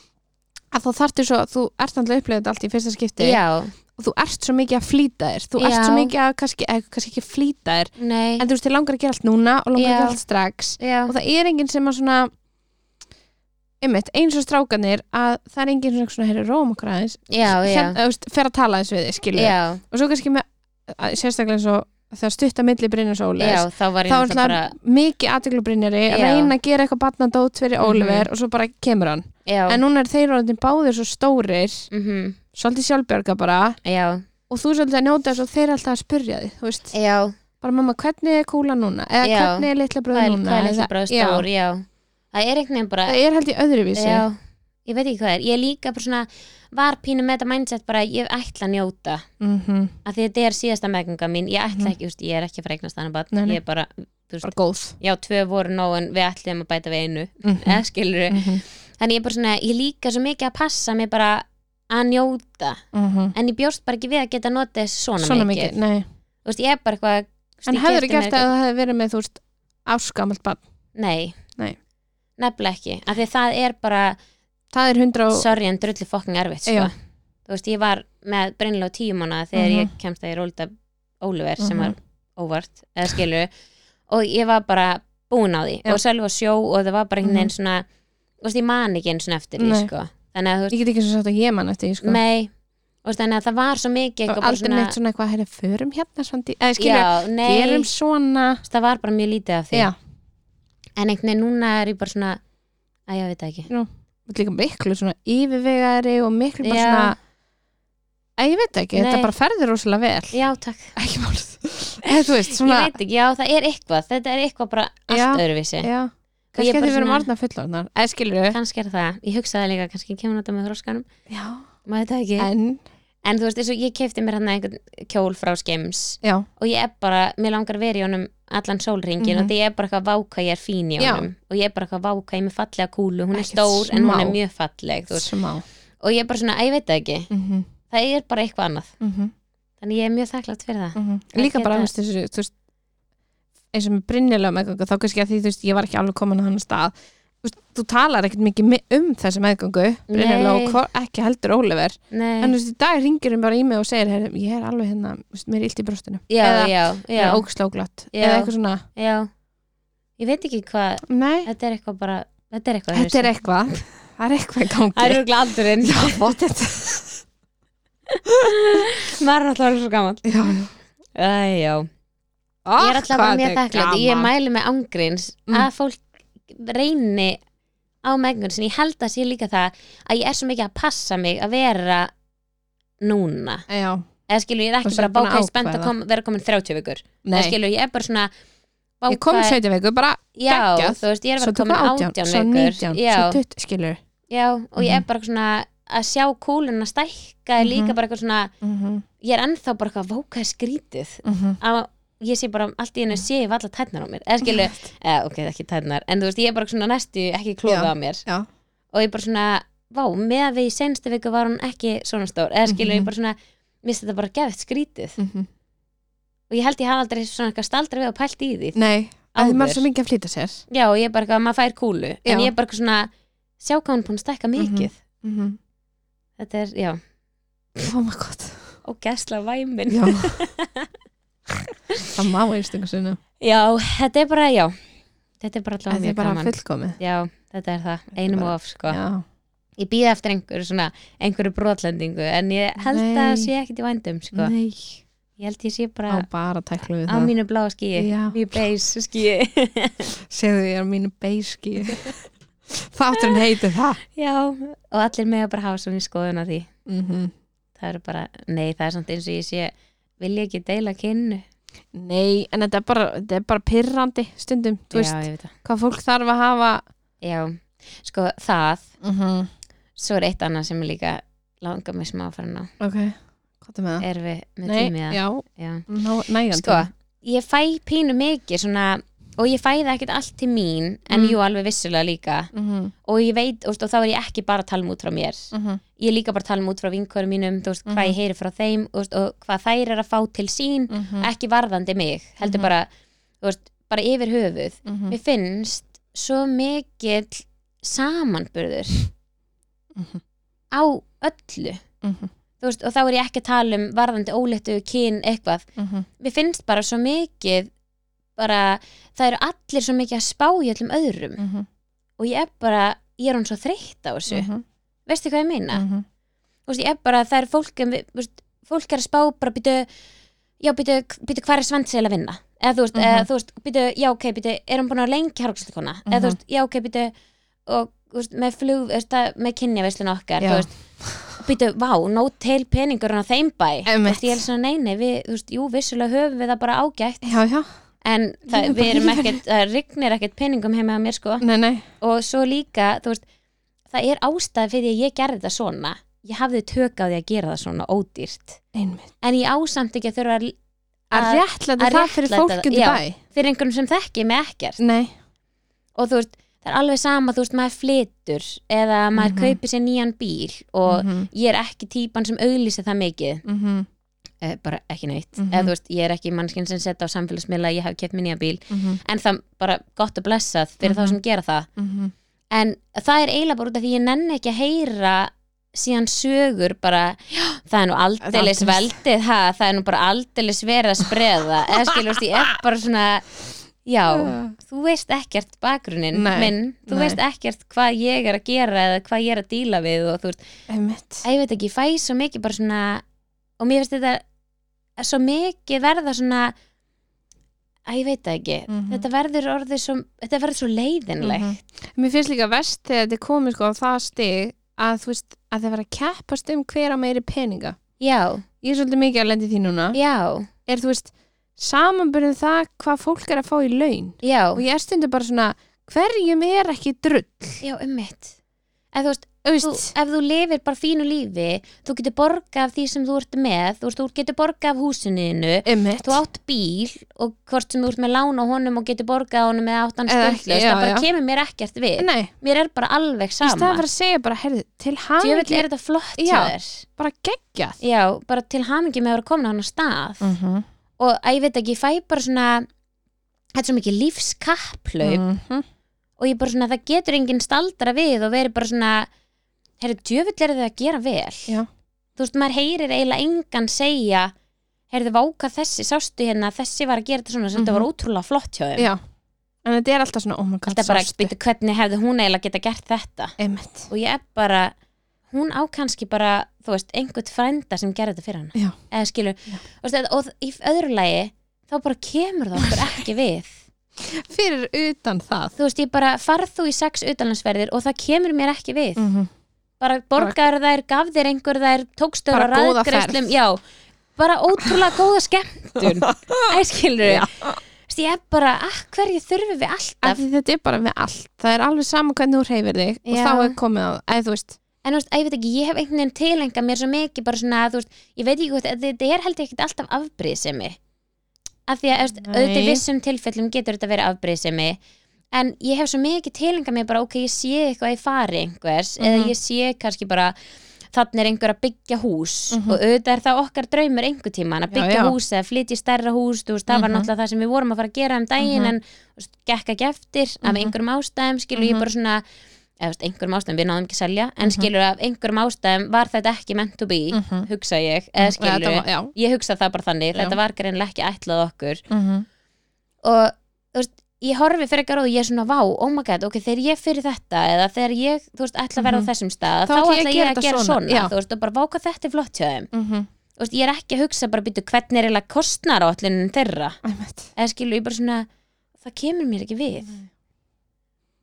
Speaker 2: að þá þarftu svo, þú ert alltaf upplegað allt í fyrsta skipti
Speaker 1: já,
Speaker 2: og þú ert svo mikið að flýta þér þú ert
Speaker 1: Já.
Speaker 2: svo mikið að kannski, eða, kannski ekki flýta þér
Speaker 1: nei
Speaker 2: en þú veist, þið langar að gera allt núna og langar að
Speaker 1: Já.
Speaker 2: gera allt strax
Speaker 1: já,
Speaker 2: og það er enginn sem að svona einmitt, eins og strákanir að það er enginn sem svona herri róm okkur aðeins
Speaker 1: já, já,
Speaker 2: Hérna, þú veist, fer að tala eins við þig, skilur
Speaker 1: já,
Speaker 2: og svo kannski með, að- sérstaklega eins og þegar stutta milli brinnir svo
Speaker 1: já
Speaker 2: ólega
Speaker 1: þá var ég
Speaker 2: þá er
Speaker 1: náttúrulega
Speaker 2: það
Speaker 1: bara
Speaker 2: mikið aðteglubrinnari
Speaker 1: Já.
Speaker 2: reyna að gera eitthvað batnadót fyrir
Speaker 1: Mhm.
Speaker 2: Óliver og svo bara kemur hann
Speaker 1: já,
Speaker 2: en núna er þeir orðin báðir svo stórir
Speaker 1: mhm,
Speaker 2: svolítið sjálfbjörga bara
Speaker 1: já,
Speaker 2: og þú svolítið að njóta þess og þeir eru alltaf að spyrja þig þú veist,
Speaker 1: já
Speaker 2: bara mamma, hvernig er kúla núna eða
Speaker 1: Já.
Speaker 2: hvernig er litla
Speaker 1: hvað
Speaker 2: bröð
Speaker 1: er-
Speaker 2: núna
Speaker 1: hvað er
Speaker 2: Eða-
Speaker 1: litli bróður stór, já það er einhvern veginn bara
Speaker 2: það er held í öðruvísi
Speaker 1: Já, ég veit ekki hvað er. Ég er líka bara svona, var pínu með þetta mindset bara ég ætla að njóta.
Speaker 2: Mhm.
Speaker 1: Af því þetta er síðasta meðganga mín. Ég ætla
Speaker 2: Mhm.
Speaker 1: ekki, úst, ég er ekki að fara að eignast þannig
Speaker 2: Nei,
Speaker 1: bara,
Speaker 2: nei.
Speaker 1: ég er bara, þú
Speaker 2: bara
Speaker 1: veist,
Speaker 2: góð
Speaker 1: já, tvö voru nóg en við ætlum að bæta við einu.
Speaker 2: Mhm.
Speaker 1: Eða skilur
Speaker 2: Mhm.
Speaker 1: Þannig ég er bara svona, ég er líka svo mikið að passa mig bara að njóta.
Speaker 2: Mhm.
Speaker 1: En ég bjóst bara ekki við að geta notið þess svona, um
Speaker 2: svona mikið, nei
Speaker 1: Þú veist, ég er bara eitthvað, þú veist,
Speaker 2: en
Speaker 1: ég
Speaker 2: hefur
Speaker 1: keypti
Speaker 2: gert
Speaker 1: mér
Speaker 2: að það hefði verið með þú veist áskamalt bann,
Speaker 1: Nei.
Speaker 2: Nei.
Speaker 1: Nefnilega ekki. Af því það er bara,
Speaker 2: það er hundra og
Speaker 1: sorry en drullu fokking erfitt sko.
Speaker 2: Já.
Speaker 1: þú veist, ég var með brennilega tíu mánuða þegar
Speaker 2: Mhm.
Speaker 1: ég kemst að ég rólda Óliver sem
Speaker 2: Mhm.
Speaker 1: var óvart eða skilur, og ég var bara búin á því
Speaker 2: Já.
Speaker 1: og selva sjó og það var bara einhvern veginn
Speaker 2: Mhm.
Speaker 1: svona þú veist, ég man ekki eins og eftir
Speaker 2: Nei.
Speaker 1: því sko. þannig að þú veist,
Speaker 2: ég get ekki svo sagt að ég mann eftir því, sko.
Speaker 1: mei þú veist, þannig að það var svo mikið
Speaker 2: Það
Speaker 1: eitthvað
Speaker 2: var
Speaker 1: bara
Speaker 2: aldrei neitt svona eitthvað herri, förum hérna svandi, eða skilja,
Speaker 1: já, nei,
Speaker 2: gerum svona
Speaker 1: þú veist, það var bara mjög lítið af því
Speaker 2: já,
Speaker 1: en einhvern veginn núna er ég bara svona að ég veit það ekki
Speaker 2: og líka miklu svona yfirvegari og miklu bara
Speaker 1: Já.
Speaker 2: svona að ég veit ekki, þetta
Speaker 1: Nei.
Speaker 2: bara ferður rosalega vel
Speaker 1: já, takk,
Speaker 2: ekki málið eða Eh, þú veist, svona
Speaker 1: ég veit ekki, já, það er eitthvað þetta er eitthvað bara allt
Speaker 2: Já.
Speaker 1: öðruvísi
Speaker 2: já,
Speaker 1: Og ég er
Speaker 2: kannski að Eh,
Speaker 1: bara
Speaker 2: þið verðum
Speaker 1: svona-
Speaker 2: orðna fullorðnar eða skilur við
Speaker 1: kannski er það, ég hugsaði líka kannski kemur þetta með þróskanum,
Speaker 2: já,
Speaker 1: maður veit það ekki en,
Speaker 2: en,
Speaker 1: þú veist, eins og ég kefti mér hann einhvern kjól frá skeims
Speaker 2: já,
Speaker 1: og ég er bara, mér langar að vera í honum allan sólringin
Speaker 2: Mhm.
Speaker 1: og því ég er bara eitthvað váka ég er fín í
Speaker 2: Já.
Speaker 1: honum og ég er bara eitthvað váka ég er með fallega kúlu, hún er
Speaker 2: Ekkert
Speaker 1: stór en hún er
Speaker 2: smá.
Speaker 1: mjög falleg þú veist.
Speaker 2: smá
Speaker 1: og ég er bara svona, að ég veit það ekki
Speaker 2: mhm,
Speaker 1: það er bara eitthvað annað,
Speaker 2: mhm,
Speaker 1: þannig ég er mjög þakklátt fyrir það
Speaker 2: mhm.
Speaker 1: Það
Speaker 2: líka bara,
Speaker 1: geta-
Speaker 2: þú veist, þessu, þú veist eins og með brinnilega meðgöngu þá kannski að því, þú veist, ég var ekki alveg komin að hann stað þú veist, þú talar ekkert mikið mi- um þessi meðgöngu, brinnilega
Speaker 1: Nei.
Speaker 2: og hvor, ekki heldur Óliver,
Speaker 1: Nei,
Speaker 2: en þú veist, í dag ringir hann bara í mig og segir, "Heyrðu, ég er alveg hérna þú veist, mér er illt í brjóstinu,
Speaker 1: já,
Speaker 2: eða-
Speaker 1: já,
Speaker 2: mér
Speaker 1: já,
Speaker 2: er ógslóglatt
Speaker 1: Já.
Speaker 2: eða eitthvað svona,
Speaker 1: já ég veit ekki hvað,
Speaker 2: nei,
Speaker 1: þetta er eitthvað bara þetta er eitthvað,
Speaker 2: þetta er
Speaker 1: öðruvísi.
Speaker 2: eitthvað það er eitthvað
Speaker 1: það
Speaker 2: í
Speaker 1: er
Speaker 2: gangi
Speaker 1: örugglega aldurinn.
Speaker 2: já, fótt þetta
Speaker 1: maður er alltaf svo gaman
Speaker 2: já, já
Speaker 1: Æ, já.
Speaker 2: Ah,
Speaker 1: ég er alltaf bara
Speaker 2: hvað
Speaker 1: mjög
Speaker 2: þetta er
Speaker 1: þakklátt
Speaker 2: gaman.
Speaker 1: ég mælu með angriðins
Speaker 2: Mm.
Speaker 1: að fólk reyni á meðgöngun sinni, ég held að sé líka það að ég er svo mikið að passa mig að vera núna
Speaker 2: Já,
Speaker 1: eða skilur ég er
Speaker 2: Og
Speaker 1: ekki
Speaker 2: svo
Speaker 1: bara
Speaker 2: búin að
Speaker 1: bákaði spennt að
Speaker 2: ákveða.
Speaker 1: kom, vera komin 30 vikur eða
Speaker 2: nei,
Speaker 1: skilur ég er bara svona
Speaker 2: ég kom
Speaker 1: vákvæð-
Speaker 2: 17 viku bara,
Speaker 1: já,
Speaker 2: geggjað.
Speaker 1: þú veist, ég er
Speaker 2: svo
Speaker 1: bara
Speaker 2: tökum
Speaker 1: komin
Speaker 2: 18,
Speaker 1: 18
Speaker 2: svo
Speaker 1: vikur
Speaker 2: 19,
Speaker 1: já,
Speaker 2: svo 20 skilur
Speaker 1: já, og ég er
Speaker 2: Mhm.
Speaker 1: bara svona að sjá kúluna stækka er líka
Speaker 2: Mhm.
Speaker 1: bara eitthvað svona
Speaker 2: mm -hmm.
Speaker 1: ég er ennþá bara eitthvað vákaði skrítið
Speaker 2: Mm -hmm.
Speaker 1: að ég sé bara allt í hennu
Speaker 2: Mm.
Speaker 1: sé ég allar tætnar á mér eða skilu, eða ok, það er ekki tætnar en þú veist, ég er bara svona næstu ekki klóða
Speaker 2: Já,
Speaker 1: á mér
Speaker 2: já.
Speaker 1: og ég bara svona, vá, með að við í senstu viku var hún ekki svona stór eða skilu,
Speaker 2: Mhm.
Speaker 1: ég bara svona, misti þetta bara gefitt skrítið
Speaker 2: Mm -hmm.
Speaker 1: og ég held ég hafa aldrei svona eitthvað staldra við og pælt í því
Speaker 2: Nei, að því
Speaker 1: Áður.
Speaker 2: maður er svo mikið að flýta sér
Speaker 1: já, og ég er bara eitthvað, maður fær kúlu
Speaker 2: Já.
Speaker 1: en ég er bara eitthvað svona, sjá hvað hún er búin að stækka mikið
Speaker 2: mm -hmm.
Speaker 1: þetta er, já,
Speaker 2: Oh my god
Speaker 1: og gæsla væmin
Speaker 2: Já Það má einstunga sinna
Speaker 1: já, þetta er bara, já þetta er bara allavega
Speaker 2: Það er
Speaker 1: mjög
Speaker 2: bara
Speaker 1: gaman
Speaker 2: fullkomið
Speaker 1: já, þetta er það, einum
Speaker 2: bara-
Speaker 1: of sko
Speaker 2: Já,
Speaker 1: ég býði eftir einhverju svona einhverju brotlendingu en ég held að það
Speaker 2: Nei.
Speaker 1: sé ekkit í vændum sko.
Speaker 2: nei
Speaker 1: ég held ég sé bara
Speaker 2: Á bara tæklu við
Speaker 1: á
Speaker 2: það
Speaker 1: mínu blá skíi
Speaker 2: Já.
Speaker 1: mínu beis skíi
Speaker 2: Segðu ég á mínu beiski Þátturinn heiti það
Speaker 1: já, og allir með að bara hafa svona skoðun á því
Speaker 2: mm -hmm.
Speaker 1: það eru bara, nei það er samt eins og ég sé vil ég ekki deila kynnu
Speaker 2: Nei, en þetta er bara, þetta er bara pyrrandi stundum, þú veist,
Speaker 1: já, ég veit það
Speaker 2: hvað fólk þarf að hafa
Speaker 1: já, sko það,
Speaker 2: uh -huh.
Speaker 1: svo er eitt annað sem er líka langar mig smá að fara ná
Speaker 2: Ok, hvað er með það?
Speaker 1: er við með
Speaker 2: Ah. Nei,
Speaker 1: tími það
Speaker 2: já,
Speaker 1: já.
Speaker 2: ná, nægan
Speaker 1: sko, ég fæ pínu mikið svona, og ég fæ það ekkert allt til mín en
Speaker 2: Mm.
Speaker 1: jú alveg vissulega líka
Speaker 2: Mhm,
Speaker 1: og ég veit, og, og þá er ég ekki bara að tala um út frá mér
Speaker 2: mhm,
Speaker 1: ég er líka bara að tala um út frá vinkorum mínum þú veist, hvað ég heyri frá þeim þú veist, og hvað þær er að fá til sín
Speaker 2: mhm,
Speaker 1: ekki varðandi mig, heldur
Speaker 2: Mhm.
Speaker 1: bara þú veist, bara yfir höfuð
Speaker 2: mhm,
Speaker 1: mér finnst svo mikill samanburður
Speaker 2: Mhm.
Speaker 1: á öllu
Speaker 2: mhm,
Speaker 1: þú veist, og þá er ég ekki að tala um varðandi óléttu, kyn, eitthvað
Speaker 2: mhm,
Speaker 1: mér finnst bara svo mikið bara, það eru allir svo mikið að spá í öllum öðrum
Speaker 2: mhm,
Speaker 1: og ég er bara, ég er hún svo þreytt á þessu
Speaker 2: mhm,
Speaker 1: veistu hvað ég meina?
Speaker 2: mhm.
Speaker 1: þú veist, ég er bara, það er fólk um, þú veist, fólk er að spá bara býtu já, býtu, býtu hvað er svendseil að vinna eða þú veist,
Speaker 2: Mhm.
Speaker 1: eða, þú veist, býtu, já, ok, býtu er hún búin að lengi hargstakona eða
Speaker 2: Mhm.
Speaker 1: þú veist, já, ok, býtu og, þú veist, með flug, þú veist, að- með kynjaveslun okkar
Speaker 2: Já.
Speaker 1: þú veist, býtu, vá, no tail peningur á þeim bæ, þú
Speaker 2: Einmitt.
Speaker 1: veist, ég er svona nei, nei, við, þú veist, jú, vissulega höfum við það bara ágætt
Speaker 2: Já, já,
Speaker 1: en það, við
Speaker 2: Lífið bara
Speaker 1: erum
Speaker 2: lífinu.
Speaker 1: ekkert, það rignir ekkert peningum heima á mér, sko
Speaker 2: nei, nei
Speaker 1: og svo líka, þú veist það er ástæð fyrir því að ég gerði þetta svona ég hafði tök á því að gera það svona ódýrt
Speaker 2: Einmitt
Speaker 1: en ég ásamt ekki að þurfa að
Speaker 2: Að
Speaker 1: Að-
Speaker 2: réttlæta
Speaker 1: að
Speaker 2: það fyrir
Speaker 1: réttlæta
Speaker 2: fólk
Speaker 1: það,
Speaker 2: undir
Speaker 1: já.
Speaker 2: bæ
Speaker 1: fyrir einhvern sem þekki mig ekkert
Speaker 2: Nei,
Speaker 1: og þú veist, það er alveg sama, þú veist, maður flytur eða maður
Speaker 2: Mhm.
Speaker 1: kaupir sér nýjan bíl og
Speaker 2: mhm,
Speaker 1: ég er ekki típan sem auglýsi það mikið
Speaker 2: mhm,
Speaker 1: eh, bara ekki neitt,
Speaker 2: Mhm.
Speaker 1: eða þú veist, ég er ekki mannskinn sem setja á samfélagsmiðla, að ég hef keft mér nýjan bíl
Speaker 2: mhm,
Speaker 1: en það bara gott að blessað fyrir
Speaker 2: Mhm.
Speaker 1: þá sem gera það
Speaker 2: mhm
Speaker 1: en það er eiginlega bara út af því ég nenni ekki að heyra síðan sögur bara, "Já, það er nú aldeilis
Speaker 2: Aldeilis.
Speaker 1: veldið, ha, það er nú bara aldeilis verið að spreða, eða skilurst ég er bara svona, já þú veist ekkert bakgrunin
Speaker 2: Nei,
Speaker 1: minn, þú
Speaker 2: nei.
Speaker 1: veist ekkert hvað ég er að gera eða hvað ég er að díla við og þú veist,
Speaker 2: Einmitt
Speaker 1: að ég veit ekki, ég fæ svo mikið bara svona, og mér finnst þetta svo mikið verða svona að ég veit það ekki
Speaker 2: Mhm. mhm.
Speaker 1: þetta verður orðið svo þetta verður svo leiðinlegt
Speaker 2: Mér finnst líka vest þegar þetta er komið sko á það stig að þú veist að það vera að keppast um hver á meiri peninga
Speaker 1: já,
Speaker 2: Ég er svolítið mikið að lendi því núna
Speaker 1: já
Speaker 2: er þú veist samanbyrðin það hvað fólk er að fá í laun
Speaker 1: Já,
Speaker 2: og ég er stundu bara svona hverjum er ekki drull
Speaker 1: já, ummitt Ef þú, veist,
Speaker 2: Þú
Speaker 1: þú,
Speaker 2: veist,
Speaker 1: ef þú lifir bara fínu lífi þú getur borga af því sem þú ert með þú, veist, þú getur borga af húsinu
Speaker 2: emitt
Speaker 1: þú átt bíl og hvort sem þú ert með lán á honum og getur borga á honum eða átt hann
Speaker 2: Eða ekki,
Speaker 1: skuldlaust
Speaker 2: já,
Speaker 1: það bara
Speaker 2: já.
Speaker 1: kemur mér ekkert við
Speaker 2: Nei,
Speaker 1: mér er bara alveg
Speaker 2: í staðan
Speaker 1: sama
Speaker 2: fyrir að segja bara heyrðu, til hann
Speaker 1: djöfell er þetta flott hjá
Speaker 2: Já.
Speaker 1: þér
Speaker 2: bara geggjað
Speaker 1: já, bara til hamingi með að vera komin á hann stað
Speaker 2: -hmm.
Speaker 1: og að ég veit ekki, ég fæ bara svona þetta er svo mikið lífskapplaup og ég bara svona, það getur enginn staldra við og verið bara svona herru, djöfull er þau að gera vel
Speaker 2: Já.
Speaker 1: þú veist, maður heyrir eiginlega engan segja herru, váka þessi, sástu hérna þessi var að gera þetta svona, sem þetta
Speaker 2: Mhm.
Speaker 1: var ótrúlega flott hjá þeim
Speaker 2: Já, en þetta er alltaf svona oh my god,
Speaker 1: þetta bara,
Speaker 2: sástu.
Speaker 1: býttu, hvernig hefði hún eiginlega geta gert þetta
Speaker 2: Einmitt.
Speaker 1: og ég er bara hún á kannski bara, þú veist, einhvern frænda sem gerði þetta fyrir hann
Speaker 2: Já.
Speaker 1: eða skilur,
Speaker 2: Já.
Speaker 1: Og, veist, og í öðru lagi þá bara kemur það okkur ekki við
Speaker 2: fyrir utan það
Speaker 1: þú veist, ég bara, farð þú í sex utanlandsferðir og það kemur mér ekki við
Speaker 2: mm -hmm.
Speaker 1: bara borgar þær, gaf þér einhver þær tókstöður
Speaker 2: Bara
Speaker 1: og
Speaker 2: góða
Speaker 1: ræðgreislum já, bara ótrúlega góða skemmtun æskilur
Speaker 2: Já.
Speaker 1: Þessi, ég er bara, að hverju þurfum við alltaf
Speaker 2: þetta er bara með allt það er alveg sama hvernig þú reyfir þig og
Speaker 1: Já.
Speaker 2: þá er komið á eða þú veist
Speaker 1: en þú veist, að ég veit ekki, ég hef einhvern veginn tilenga mér svo mikið bara svona, þú veist, ég veit ekki hvort að þetta er held ég ekkert alltaf afbrýðsemi af því að, þú veist,
Speaker 2: Nei.
Speaker 1: auðvitað í vissum tilfellum getur þetta verið afbrýðsemi en ég hef svo mikið tilenga mér bara, ok, ég sé eitthvað í fari einhvers
Speaker 2: Mhm.
Speaker 1: eða ég sé kannski bara þannig er einhver að byggja hús
Speaker 2: Mhm.
Speaker 1: og auðvitað er það okkar draumur einhver tíman að
Speaker 2: Já,
Speaker 1: byggja
Speaker 2: já.
Speaker 1: hús eða flytja í stærra hús þú veist, það var
Speaker 2: Mhm.
Speaker 1: náttúrulega það sem við vorum að fara að gera um daginn
Speaker 2: Mhm.
Speaker 1: en þú veist, gekk ekki eftir af
Speaker 2: Mhm.
Speaker 1: einhverjum ástæðum skilur ég
Speaker 2: Mhm.
Speaker 1: bara svona eða þú veist, einhverjum ástæðum við náðum ekki að selja en
Speaker 2: Mhm.
Speaker 1: skilur af einhverjum ástæðum var þetta ekki meant to be
Speaker 2: Mhm.
Speaker 1: hugsa ég, eða skilur
Speaker 2: þetta var- já.
Speaker 1: ég hugsa það bara þannig,
Speaker 2: Já.
Speaker 1: þetta var greinlega ekki ætlað okkur
Speaker 2: Mm -hmm.
Speaker 1: og þú veist, ég horfi fyrir eitthvað og ég er svona vá, oh my god, ok, þegar ég fyrir þetta eða þegar ég, þú veist, ætla að verða á
Speaker 2: Mhm.
Speaker 1: þessum stað þá
Speaker 2: Þá ætla ég
Speaker 1: ætla ég
Speaker 2: að gera
Speaker 1: að
Speaker 2: þetta
Speaker 1: gera
Speaker 2: svona,
Speaker 1: svona,
Speaker 2: já.
Speaker 1: þú veist, og bara váka þetta er flott hjá þeim
Speaker 2: Mm -hmm.
Speaker 1: þú veist, ég er ekki að hugsa bara býtu hvernig er eiginlega kostnar á allinum þeirra eða skilur ég bara svona, það kemur mér ekki við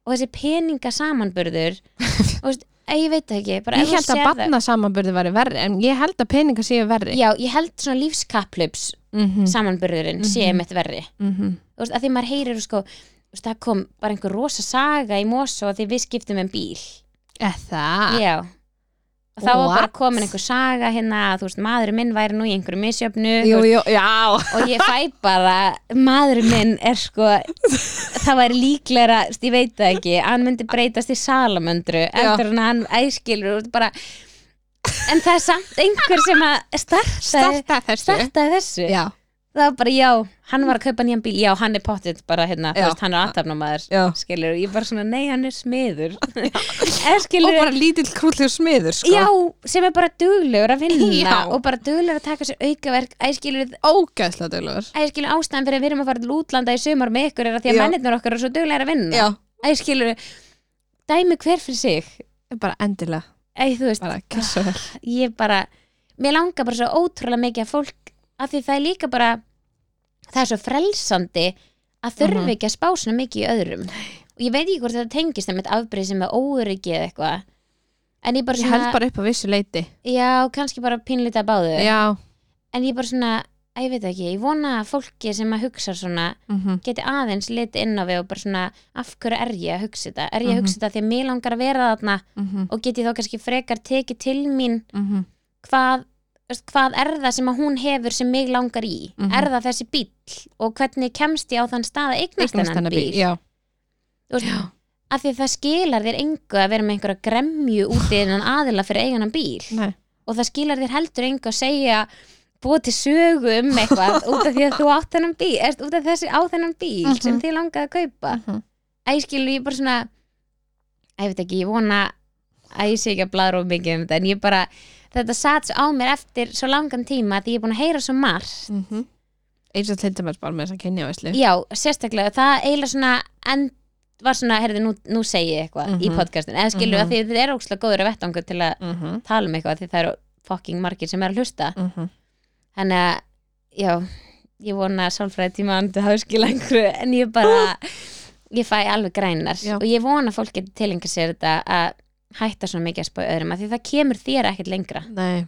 Speaker 1: og þessi peninga samanburður og veist, eh, ég veit það ekki bara ef
Speaker 2: Ég
Speaker 1: þú
Speaker 2: held að
Speaker 1: sérð það-
Speaker 2: batna samanbörði væri verri en ég held að peninga séu verri
Speaker 1: Já, ég held svona lífskapplöps
Speaker 2: mm -hmm.
Speaker 1: samanburðurinn
Speaker 2: Mhm.
Speaker 1: sé mitt verri þú veist, að því maður heyrir sko, þú veist, það kom bara einhver rosa saga í Mosó að því við skiptum um bíl
Speaker 2: Það
Speaker 1: já og þá var bara
Speaker 2: What?
Speaker 1: komin einhver saga hérna að þú veist, maðurinn minn væri nú í einhverju misjöfnu
Speaker 2: Jú, jú, já
Speaker 1: og ég fæ bara maðurinn minn er sko það væri líklega, ég veit það ekki hann myndi breytast í salamöndru
Speaker 2: Já.
Speaker 1: eftir hann að hann æskilur og bara en það er samt einhver sem að startaði,
Speaker 2: Starta þessu
Speaker 1: startaði þessu
Speaker 2: Já,
Speaker 1: það var bara já, hann var að kaupa nýjan bíl já, hann er pottitt bara hérna, þú
Speaker 2: Já.
Speaker 1: veist, hann er aðtapnamaður
Speaker 2: já
Speaker 1: skilur, ég bara svona, nei, hann er smiður eða
Speaker 2: Og
Speaker 1: skilur,
Speaker 2: bara lítill krúllur smiður sko
Speaker 1: já, sem er bara duglegur að vinna
Speaker 2: Já.
Speaker 1: og bara duglegur að taka sér aukaverk eða skilur,
Speaker 2: Ógæðslega dölur
Speaker 1: eða skilur ástæðan fyrir að við erum að fara til útlanda í sumar með ykkur er að því að
Speaker 2: Já.
Speaker 1: mennirnir okkar eru svo duglegur að vinna
Speaker 2: Já
Speaker 1: eða skilur, dæmi hver fyrir sig
Speaker 2: Bara endilega,
Speaker 1: eða þú veist,
Speaker 2: bara kessa vel
Speaker 1: ég bara mér langar bara svo ótrúlega mikið að fólk af því það er líka bara það er svo frelsandi að þurfi
Speaker 2: Mhm.
Speaker 1: ekki að spá svona mikið í öðrum og ég veit ekki hvort þetta tengist með afbreyð sem er óöryggi eða eitthvað en ég bara
Speaker 2: Ég held
Speaker 1: svona,
Speaker 2: bara upp á vissu leiti
Speaker 1: já, kannski bara pínlítið að báðu
Speaker 2: Já
Speaker 1: en ég bara svona, að ég veit það ekki ég vona að fólki sem að hugsa svona
Speaker 2: Mhm.
Speaker 1: geti aðeins litið inn á við og bara svona, af hverju er ég að hugsa þetta er ég að
Speaker 2: Mhm.
Speaker 1: hugsa þetta því að mér langar að vera þarna
Speaker 2: Mhm.
Speaker 1: og geti þá kannski frekar tekið til mín
Speaker 2: Mhm.
Speaker 1: hvað, þú veist, hvað er það sem að hún hefur sem mig langar í
Speaker 2: Mhm.
Speaker 1: er það þessi bíll og hvernig kemst ég á þann stað að eignast
Speaker 2: Eignast
Speaker 1: þennan
Speaker 2: hennar
Speaker 1: bíll
Speaker 2: bíl Já
Speaker 1: Þú veist, af því það skilar þér engu að vera með einhverja gremju úti innan aðila fyrir eiganan bíl
Speaker 2: Nei.
Speaker 1: og það skilar þér heldur engu að segja búið til sögu um eitthvað út af því að þú átt þennan bíl erst, út af þessi á þennan bíl sem
Speaker 2: Mhm.
Speaker 1: þið langaði að kaupa
Speaker 2: Mhm.
Speaker 1: að ég skilur ég bara svona að ég veit ekki, ég vona að ég sé ekki að bladra of mikið um þetta en ég bara, þetta satt svo á mér eftir svo langan tíma að ég er búin að heyra svo margt
Speaker 2: Mhm. Eins og tlinda mér bara með þess að kynja veislu
Speaker 1: já, sérstaklega, það eiginlega svona end, var svona, heyrðu, nú, nú segi ég eitthvað í
Speaker 2: Mhm.
Speaker 1: podcastin, eða skilur mm
Speaker 2: Mhm.
Speaker 1: að því þetta er ókslega góður að vettangu til að
Speaker 2: Mhm.
Speaker 1: tala um eitthvað því það eru fucking margir sem er að hlusta
Speaker 2: Mhm.
Speaker 1: þannig að, já ég vona að sálfræði tíma andu hafi skilað einhverju en ég bara ég fæ alveg grænar
Speaker 2: Já.
Speaker 1: og ég vona að fólk geti tilenga sér þetta að hætta svona mikið að spá í öðrum að því það kemur þér ekkert lengra
Speaker 2: Nei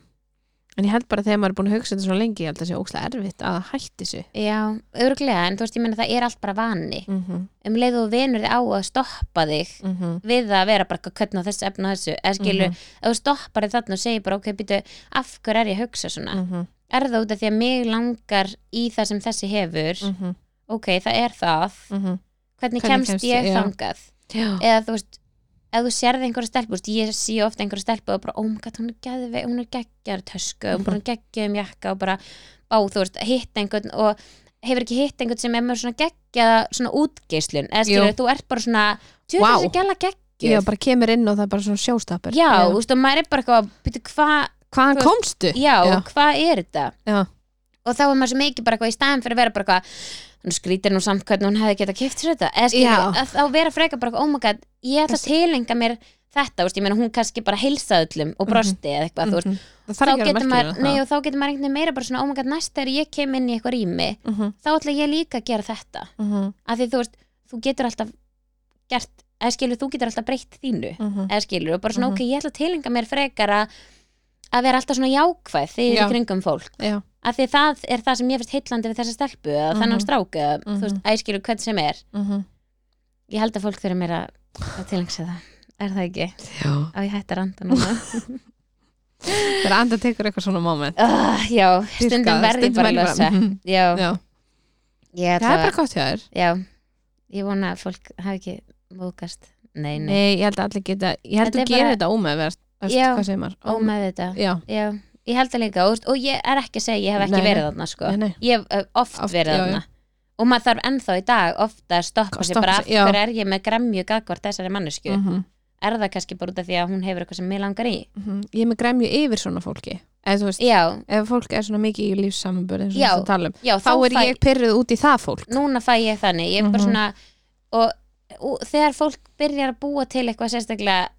Speaker 2: En ég held bara þegar maður er búin að hugsa þetta svona lengi ég held að það sé ókslega erfitt að hætti þessu
Speaker 1: já, örglega, en þú veist, ég meina það er allt bara vani
Speaker 2: Mhm.
Speaker 1: um leið og þú venur þig á að stoppa þig
Speaker 2: Mhm.
Speaker 1: við að vera bara hvernig á þessu efna þessu eða skilu, ef þú stoppar þig þarna og segir bara ok, býtu, af hverju er ég að hugsa svona
Speaker 2: Mhm.
Speaker 1: er það út af því að mig langar í það sem þessi hefur
Speaker 2: Mhm.
Speaker 1: ok, það er það
Speaker 2: Mhm.
Speaker 1: hvernig,
Speaker 2: Hvernig
Speaker 1: kemst,
Speaker 2: kemst
Speaker 1: ég
Speaker 2: ég, já.
Speaker 1: þangað
Speaker 2: Já
Speaker 1: eða þú veist, ef þú sérði einhverja stelpu þú veist, ég sé ofta einhverja stelpu og bara, oh my god, hún er geðveik, hún er geggjar tösku, hún er búin að geggja um jakka og bara, á, þú veist, hitta einhvern og hefur ekki hitt einhvern sem er með svona geggja svona útgeislun, eða skilur,
Speaker 2: Jú.
Speaker 1: þú ert bara svona, þú
Speaker 2: Vá.
Speaker 1: veist þessi gæla geggjuð
Speaker 2: Já, bara kemur inn og það er bara svona sjóstapur
Speaker 1: já, þú veist, og maður er bara eitthvað, býtu, hvað
Speaker 2: Hvaðan
Speaker 1: þú veist-
Speaker 2: komstu?
Speaker 1: já, hvað er þetta
Speaker 2: Já.
Speaker 1: og þá er maður svo mikið bara eitthvað í staðin fyrir að vera bara eitthvað hún skrítir nú samt hvernig hún hefði getað kipt sér þetta eða skilur,
Speaker 2: Já.
Speaker 1: að þá vera frekar bara eitthvað, oh my god, ég ætla að tilenga mér þetta, þú veist, ég meina hún kannski bara heilsa öllum og brosti eða eitthvað, þú veist
Speaker 2: Mhm. Það
Speaker 1: þá
Speaker 2: þarf ekki að
Speaker 1: getur
Speaker 2: vera
Speaker 1: maður,
Speaker 2: merkilegt
Speaker 1: nei og þá getur maður einhvern veginn meira bara svona, oh my god, næst þegar ég kem inn í eitthvað rými,
Speaker 2: Mhm.
Speaker 1: þá ætla ég líka að gera þetta,
Speaker 2: Mhm.
Speaker 1: af því þú veist þú getur alltaf gert, eða skilur þú getur alltaf breytt þínu,
Speaker 2: Mhm.
Speaker 1: eða skilur og bara svona,
Speaker 2: Mhm.
Speaker 1: ok, ég ætla að tilenga mér frekar að að vera alltaf svona jákvæð þegar
Speaker 2: Já.
Speaker 1: í kringum fólk
Speaker 2: Já,
Speaker 1: af því það er það sem ég finnst heillandi við þessa stelpu eða
Speaker 2: Mhm.
Speaker 1: þennan strák eða þú veist,
Speaker 2: Mhm.
Speaker 1: æskilu hvern sem er
Speaker 2: mhm.
Speaker 1: ég held að fólk þurfi meira að tilengsa það er það ekki,
Speaker 2: já
Speaker 1: á ég hætti að randa núna
Speaker 2: Þegar anda tekur eitthvað svona moment
Speaker 1: uh, já, stundum verði bara að losa
Speaker 2: Mhm.
Speaker 1: já,
Speaker 2: Já,
Speaker 1: ég
Speaker 2: það er
Speaker 1: ætla
Speaker 2: bara
Speaker 1: að
Speaker 2: gott hjá þér
Speaker 1: já, ég vona að fólk hafi ekki mókast, nei, nei,
Speaker 2: Nei, ég held að allir geta Ég held
Speaker 1: Þetta
Speaker 2: að
Speaker 1: er
Speaker 2: gera
Speaker 1: bara-
Speaker 2: þetta ómeðverst
Speaker 1: Já.
Speaker 2: Hvað segir maður?
Speaker 1: ómæði þetta
Speaker 2: Já,
Speaker 1: já, ég held að líka, og, þú veist, og ég er ekki að segja ég hef ekki
Speaker 2: Nei, nei.
Speaker 1: verið þarna sko
Speaker 2: nei, nei
Speaker 1: ég hef ö, oft,
Speaker 2: Oft,
Speaker 1: verið
Speaker 2: já,
Speaker 1: þarna og maður þarf ennþá í dag ofta að stoppa
Speaker 2: Að
Speaker 1: sér
Speaker 2: stoppa
Speaker 1: bara af
Speaker 2: sig, já.
Speaker 1: hverju er ég með gremju gagvart þessari mannesku
Speaker 2: Mhm.
Speaker 1: er það kannski bara út af því að hún hefur eitthvað sem mig langar í
Speaker 2: Mhm. Ég er með gremju yfir svona fólki Eða þú veist,
Speaker 1: já,
Speaker 2: ef fólk er svona mikið í lífssamanbörð eins og
Speaker 1: Já.
Speaker 2: þess að tala um
Speaker 1: já,
Speaker 2: Þá er
Speaker 1: fæ,
Speaker 2: ég pyrruð út í það fólk
Speaker 1: núna fæ ég þannig ég er bara
Speaker 2: Mhm.
Speaker 1: svona og, og þegar fólk byrjar að búa til eitthvað sérstaklega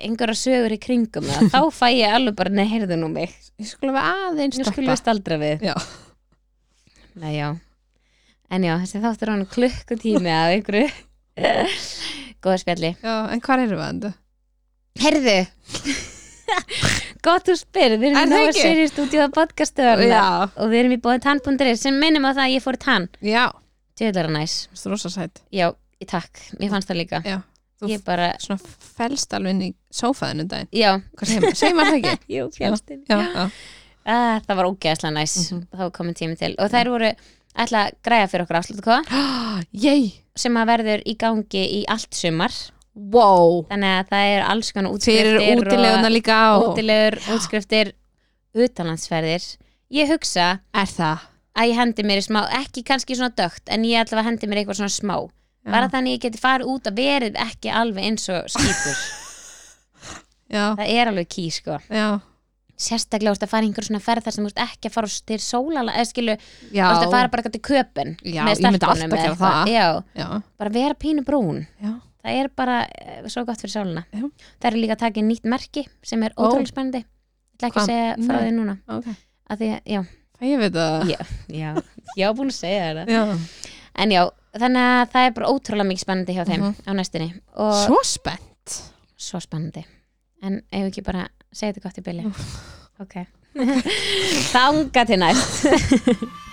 Speaker 1: einhverja sögur í kringum það, þá fæ ég alveg bara nei, heyrðu nú mig,
Speaker 2: Ég skulum við aðeins
Speaker 1: nú skulum
Speaker 2: stoppa
Speaker 1: við staldra við
Speaker 2: Já.
Speaker 1: nei, já en já, þessi þáttur hann klukkutími af einhverju góða spjalli
Speaker 2: Já, en hvað erum við enda?
Speaker 1: Herðu Gott þú spyrir, við
Speaker 2: Er
Speaker 1: erum
Speaker 2: það
Speaker 1: í Nova
Speaker 2: ekki?
Speaker 1: Sirius stúdíu að podcastöðuna
Speaker 2: Já.
Speaker 1: og við erum í bóðið tann.ri sem minnum á það að ég fór í tann
Speaker 2: Já,
Speaker 1: Tjöðlara næs,
Speaker 2: það er rosa sætt
Speaker 1: já, í takk, mér fannst það líka
Speaker 2: Já, þú
Speaker 1: Ég bara,
Speaker 2: svona fælst alveg inn í sófaðinu um daginn
Speaker 1: já
Speaker 2: Hvað segir maður? Segir maður það ekki?
Speaker 1: Jú, fjallstinn
Speaker 2: Já, já,
Speaker 1: ah, Það var ógeðslega næs,
Speaker 2: Mhm.
Speaker 1: þá var komin tími til og þær voru ætla að græja fyrir okkur afslutu
Speaker 2: Ah, Jej,
Speaker 1: sem að verður í gangi í allt sumar
Speaker 2: wow
Speaker 1: þannig að það er alls konar útskriftir
Speaker 2: Fyrir útileguna líka og
Speaker 1: útilegur, útskriftir utanlandsferðir ég hugsa
Speaker 2: Er það?
Speaker 1: að ég hendi mér í smá, ekki kannski svona dögt en ég allavega hendi mér eitthvað svona smá
Speaker 2: Já.
Speaker 1: bara þannig að ég geti farið út að verið ekki alveg eins og skýtur
Speaker 2: Já,
Speaker 1: það er alveg ký sko
Speaker 2: já,
Speaker 1: sérstaklega úrst að fara í einhver svona ferð þar sem þú ert ekki að fara úrst til sólala eða skilu,
Speaker 2: já
Speaker 1: úrst að fara bara eitthvað til köpen
Speaker 2: Já,
Speaker 1: með
Speaker 2: ég myndi alltaf
Speaker 1: stelpunum eða
Speaker 2: gera
Speaker 1: eitthvað.
Speaker 2: það.
Speaker 1: Já,
Speaker 2: Já,
Speaker 1: bara vera pínu brún
Speaker 2: já,
Speaker 1: það er bara eh, svo gott fyrir sáluna
Speaker 2: Já.
Speaker 1: það er líka að taka inn nýtt merki sem er
Speaker 2: Ó.
Speaker 1: ótrúlega spennandi ég ætla ekki
Speaker 2: Hvað?
Speaker 1: að segja frá
Speaker 2: Nei.
Speaker 1: því núna
Speaker 2: ok
Speaker 1: að því, að- já,
Speaker 2: Það ég veit að
Speaker 1: já, ég á búin að segja þér það
Speaker 2: Já,
Speaker 1: en já, þannig að það er bara ótrúlega mikið spennandi hjá þeim
Speaker 2: Mhm.
Speaker 1: á næstinni og svo,
Speaker 2: svo spennt
Speaker 1: spennandi en ef ekki bara segja þetta gott í bylli ok þanga til næst